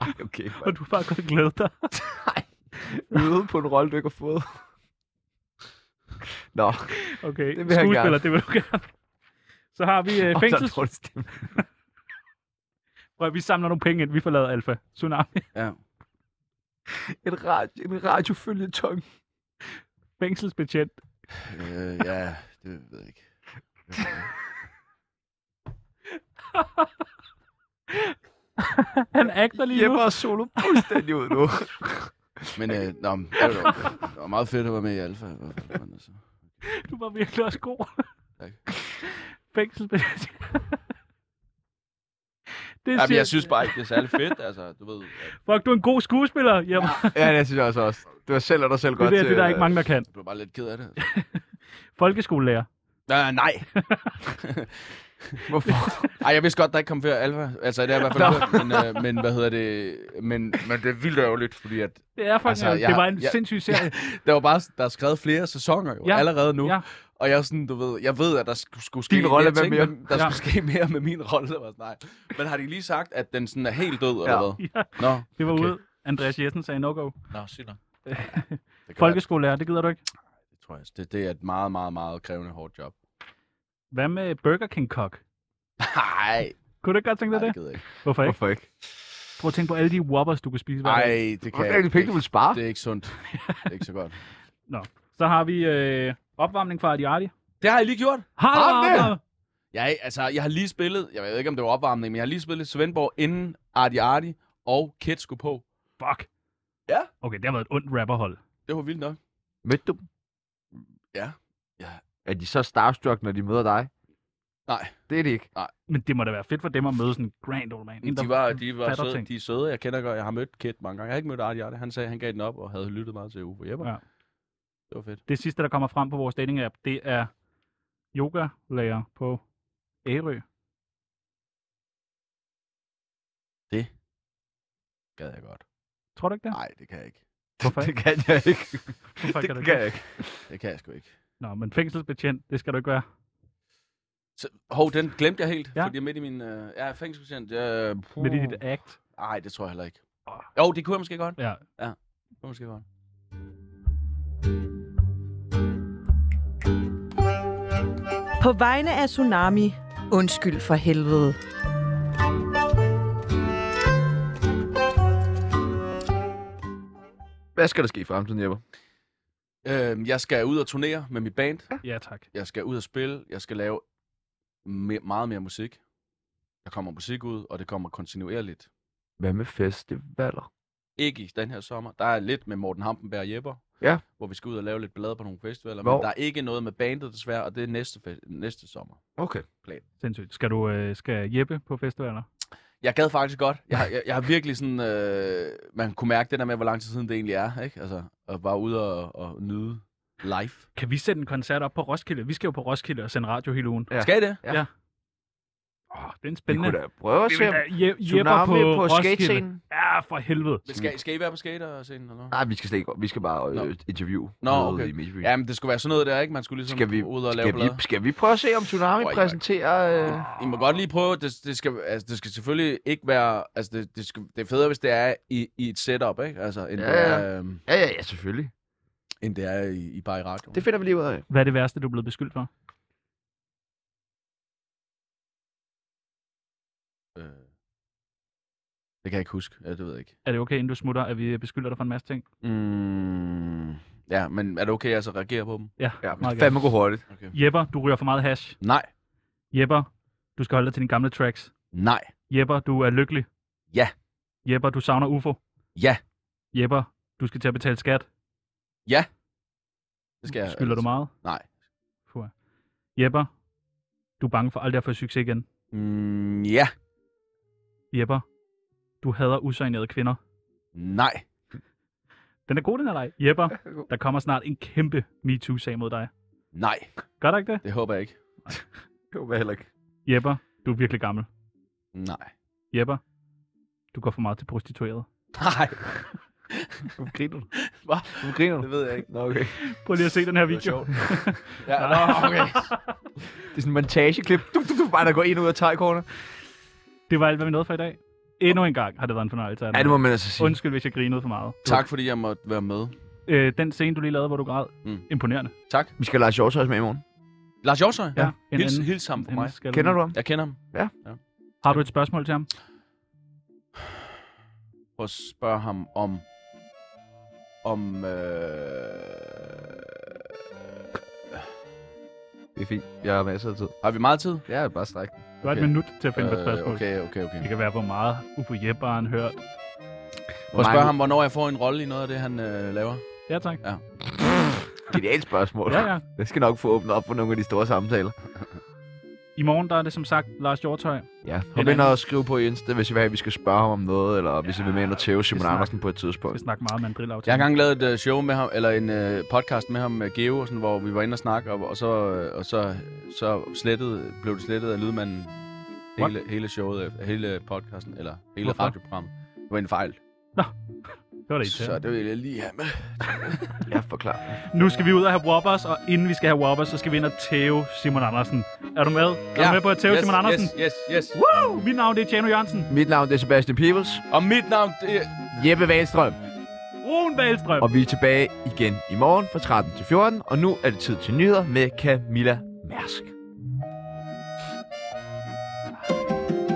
S1: Ej,
S5: *laughs*
S1: okay.
S5: Og du har bare godt glædet dig.
S1: Øde på en rolle, du ikke har fået. Nå,
S5: Okay,
S1: Det
S5: det
S1: vil jeg
S5: skuespiller,
S1: gerne.
S5: det vil du gerne. Så har vi øh,
S1: og der er
S5: fængsels...
S1: dårlig stemning.
S5: Prøv, at- vi samler nogle penge ind, vi forlader Alfa. Tsunami.
S4: Ja.
S1: En, radio, en radiofølgetong.
S5: Fængselsbetjent.
S4: Øh, ja, det ved jeg ikke.
S5: Han agter lige nu.
S1: Jeppe og solo fuldstændig ud
S5: *laughs*
S1: nu.
S4: Men øh, nå, men det, var, det var meget fedt at være med i Alfa. i hvert fald, men altså.
S5: Du var virkelig også god. *laughs*
S4: Tak.
S5: Fængselsbetjent. *laughs* Det
S4: Jamen,
S5: siger-
S4: jeg synes bare ikke, det er særlig fedt. Altså, du ved, at
S5: Fuck, du er en god skuespiller. Jamen,
S1: ja, det synes jeg også. også. Du har selv og dig selv
S5: det,
S1: godt
S5: der, det er der
S1: øh,
S5: ikke mange, der kan.
S4: jeg blev bare lidt ked af det. Altså.
S5: Folkeskolelærer.
S4: Nej, nej.
S1: Hvorfor?
S4: Ej, jeg vidste godt, der ikke kom før Alfa. Altså, det er i hvert fald hørt, men, øh, men hvad hedder det? Men, men det er vildt ærgerligt, fordi at
S5: Det er faktisk,
S4: Altså,
S5: altså,
S4: jeg
S5: det
S4: har-
S5: var en
S4: jeg-
S5: sindssyg serie.
S4: der var bare, der er skrevet flere sæsoner jo,
S5: Ja.
S4: ja. allerede nu.
S5: Ja.
S4: Ja. Og jeg er sådan, du ved, jeg ved, at der skulle, skulle ske
S1: Din rolle,
S4: mere,
S1: hvad
S4: ting,
S1: mere?
S4: men der
S5: Ja.
S4: ja. skulle ske mere med min rolle. Der var sådan, nej. Men har de lige sagt, at den sådan er helt død, eller
S1: Ja.
S4: hvad?
S5: Ja.
S4: Nå,
S5: Det var
S4: Okay.
S5: ude. Andreas Jessen sagde no-go.
S4: Nå sygt nok. Det, kan være,
S5: Folkeskolelærer, det gider du ikke.
S4: det, tror jeg. Det, det er et meget, meget, meget krævende hårdt job.
S5: Hvad med Burger King-kok?
S4: Nej,
S5: Kunne du ikke godt tænke
S4: nej
S5: dig
S4: det
S5: det?
S4: gider jeg ikke.
S5: Hvorfor ikke?
S1: Hvorfor ikke?
S5: Prøv at tænke på alle de whoppers, du kan spise hver dag.
S4: Nej, det
S1: Hvor
S4: kan
S1: er
S4: jeg
S1: det penge, du
S4: ikke.
S1: vil spare?
S4: Det er ikke sundt. Det er ikke så godt.
S5: Så har vi øh, opvarmning fra Adiardi.
S4: Det har jeg lige gjort.
S5: Har du
S1: Har vi det?
S5: opvarmning?
S4: Jeg, altså, jeg har lige spillet, jeg ved ikke, om det var opvarmning, men jeg har lige spillet Svendborg inden Arti Arti og Kid skulle på.
S5: Fuck.
S4: Ja.
S5: Okay, det har været et ondt rapperhold.
S4: Det var vildt nok.
S1: Mødte du dem?
S4: Ja. Ja.
S1: Er de så starstruck, når de møder dig?
S4: Nej.
S1: Det er de ikke.
S5: Men det må da være fedt for dem at møde sådan en grand old man. En, der
S4: De var, de var
S5: fatter
S4: søde,
S5: ting.
S4: de er søde. Jeg kender godt, jeg har mødt Kid mange gange. Jeg har ikke mødt Arti Arti. Han sagde, at han gav den op og havde lyttet meget til Ufo Jepper.
S5: Ja.
S4: Ja. Det var fedt.
S5: Det sidste, der kommer frem på vores dating-app, det er yogalærer på Ærø.
S4: Gad jeg godt.
S5: Tror du ikke det?
S4: Nej, det kan jeg ikke.
S5: Hvorfor
S1: Det
S5: ikke?
S1: kan jeg ikke. *laughs*
S5: Hvorfor
S1: Det
S5: kan du
S1: kan
S5: ikke?
S1: jeg ikke.
S4: Det kan jeg sgu ikke.
S5: Nå, men fængselsbetjent, det skal du ikke være.
S4: Så, hov, den glemte jeg helt,
S5: Ja.
S4: ja. fordi jeg er midt i min... Øh, jeg er fængselsbetjent. Øh,
S5: Med dit act.
S4: Nej, det tror jeg heller ikke. Jo, det kunne jeg måske godt.
S5: Ja.
S4: Det kunne jeg måske godt.
S6: På vegne af Tsunami, undskyld for helvede.
S1: Hvad skal der ske i fremtiden, Jeppe?
S4: Øhm, jeg skal ud og turnere med mit band.
S5: Ja, tak.
S4: Jeg skal ud og spille. Jeg skal lave me- meget mere musik. Der kommer musik ud, og det kommer kontinuerligt.
S1: Hvad med festivaler?
S4: Ikke i den her sommer. Der er lidt med Morten Hampenberg og Jepper.
S1: Ja.
S4: Hvor vi skal ud og lave lidt ballade på nogle festivaler.
S1: Hvor?
S4: Men der er ikke noget med bandet desværre, og det er næste, fe- næste sommer.
S1: Okay.
S5: Sindssygt. Skal du øh, skal Jeppe på festivaler?
S4: Jeg gad faktisk godt. Jeg, har- jeg, jeg har virkelig sådan... Øh, man kunne mærke det der med, hvor lang tid siden det egentlig er. Ikke? Altså, at bare ud og, og nyde live.
S5: Kan vi sætte en koncert op på Roskilde? Vi skal jo på Roskilde og sende radio hele ugen.
S1: Ja.
S4: Ja. Skal I det?
S5: Åh, oh, det er
S1: Vi
S5: en
S1: kunne
S5: spændende.
S1: da prøve at
S5: Vi
S1: se,
S5: vil
S1: om
S5: da Je- Jeppe
S1: Tsunami
S5: på,
S1: på,
S5: på Roskilde.
S1: skatescenen.
S5: Ja, for helvede.
S4: Men skal, skal I være på skaterscenen eller noget?
S1: Nej, vi skal slet ikke. Vi skal bare
S4: Nå.
S1: øh, interview.
S4: Nå,
S1: nede
S4: okay.
S1: I Midtbyen.
S4: Jamen, det skulle være sådan noget der, ikke? Man skulle ligesom
S1: skal vi,
S4: ud og lave
S1: skal,
S4: blade.
S1: vi, skal vi prøve at se, om Tsunami
S4: Åh, I-
S1: præsenterer... Øh,
S4: I må godt lige prøve. Det, det, skal, altså, det skal selvfølgelig ikke være... Altså, det, det, skal, det er federe, hvis det er i, i et setup, ikke? Altså, end,
S1: Ja,
S4: det, er, øh,
S1: ja, ja, ja, selvfølgelig.
S4: end det er i, i bare i radioen.
S1: Det finder vi lige ud af.
S5: Hvad er det værste, du er blevet beskyldt for?
S4: Øh, det kan jeg ikke huske. Ja, det ved jeg ikke.
S5: Er det okay, inden du smutter, at vi beskylder dig for en masse ting?
S4: Mm, ja, men er det okay, altså, at jeg så reagerer på dem?
S5: Ja,
S1: Ja,
S5: meget
S1: men
S5: gerne.
S1: fandme gå hurtigt.
S4: Okay.
S5: Jepper, du ryger for meget hash.
S4: Nej.
S5: Jepper, du skal holde dig til dine gamle tracks.
S4: Nej.
S5: Jepper, du er lykkelig.
S4: Ja.
S5: Jepper, du savner UFO.
S4: Ja.
S5: Jepper, du skal til at betale skat.
S4: Det skal jeg.
S5: Skylder du meget?
S4: altså. Nej.
S5: Fuh. Jepper, du er bange for aldrig at få succes igen.
S4: Mm, ja.
S5: Jepper, du hader usagnerede kvinder.
S4: Nej.
S5: Den er god, den her leg.
S4: *laughs*
S5: Jepper, der kommer snart en kæmpe MeToo-sag mod dig.
S4: Nej.
S5: Gør der ikke det?
S4: Det håber jeg ikke.
S1: Det var heller ikke.
S5: Jepper, du er virkelig gammel.
S4: Nej.
S5: Jepper, du går for meget til prostitueret.
S4: Nej.
S1: Hvorfor griner du?
S4: *laughs* Hvad?
S1: Hvorfor griner du?
S4: Det ved jeg ikke.
S1: Nå, okay.
S5: Prøv lige at se den her
S4: Det var
S5: video.
S4: sjovt. Ja, nå, okay.
S1: Det er sådan en montageklip. Du, du, du, bare der går ind og ud af tegkornet.
S5: Det var alt, hvad vi nåede for i dag. Endnu en gang har det været en fornøjelse.
S1: Ja, det må man altså sige.
S5: Undskyld, hvis jeg grinede for meget.
S4: Tak, fordi jeg måtte være med.
S5: Øh, den scene, du lige lavede, hvor du græd.
S4: Mm.
S5: Imponerende.
S4: Tak.
S1: Vi skal have Lars Hjortøjs med i morgen.
S4: Lars Hjortøj?
S5: Ja, en
S4: Hils,
S5: anden-
S4: hils ham for
S5: Den
S4: mig.
S5: skal
S1: Kender du ham?
S4: Jeg kender ham.
S5: Har du et spørgsmål til ham?
S4: Prøv at spørge ham om... Om... Øh...
S1: Det er fint. Jeg har masser af tid.
S4: Har vi meget tid?
S1: Jeg er bare stræk.
S5: Du har et
S4: Okay. Øh,
S5: minut til at finde på et spørgsmål.
S4: okay, okay, okay.
S5: Det kan være, hvor meget Ufo Jeppe har han hørt.
S4: Prøv at spørge ham, hvornår jeg får en rolle i noget af det, han øh, laver.
S5: Ja, tak.
S1: Genialt spørgsmål.
S5: Ja, ja.
S1: Jeg skal nok få åbnet op for nogle af de store samtaler.
S5: I morgen, der er det som sagt Lars Hjortøj.
S1: Ja. Kom ind og skriv på Insta, hvis I vil have, at vi skal spørge ham om noget, eller hvis I vil med ind og tæve Simon
S5: snakke.
S1: Andersen på et
S5: Vi skal
S1: tidspunkt.
S5: snakke meget mandrilaftale.
S4: Jeg har engang lavet et øh, show med ham, eller en øh, podcast med ham med Geo, og sådan, hvor vi var inde og snakke, og, og så, øh, og så, så slettede, blev det slettet af lydmanden
S5: What?
S4: hele, hele showet, øh, hele podcasten, eller hele
S5: Hvorfor?
S4: radioprogrammet. Det var en fejl.
S5: Det var det
S4: Så
S5: irriterende.
S4: det vil jeg lige have med.
S1: Ja, forklar.
S5: Nu skal vi ud og have Whoppers, og inden vi skal have Whoppers, så skal vi ind og tæve Simon Andersen. Er du med? Er du med på at tæve
S4: yes,
S5: Simon Andersen?
S4: Yes, yes, yes.
S5: Woo! Mit navn det er Tjano Jørgensen.
S1: Mit navn det er Sebastian Peebles.
S4: Og mit navn, det er...
S1: Jeppe Valstrøm.
S5: Rune Valstrøm.
S1: Og vi er tilbage igen i morgen fra 13 til 14, og nu er det tid til nyheder med Camilla Mærsk.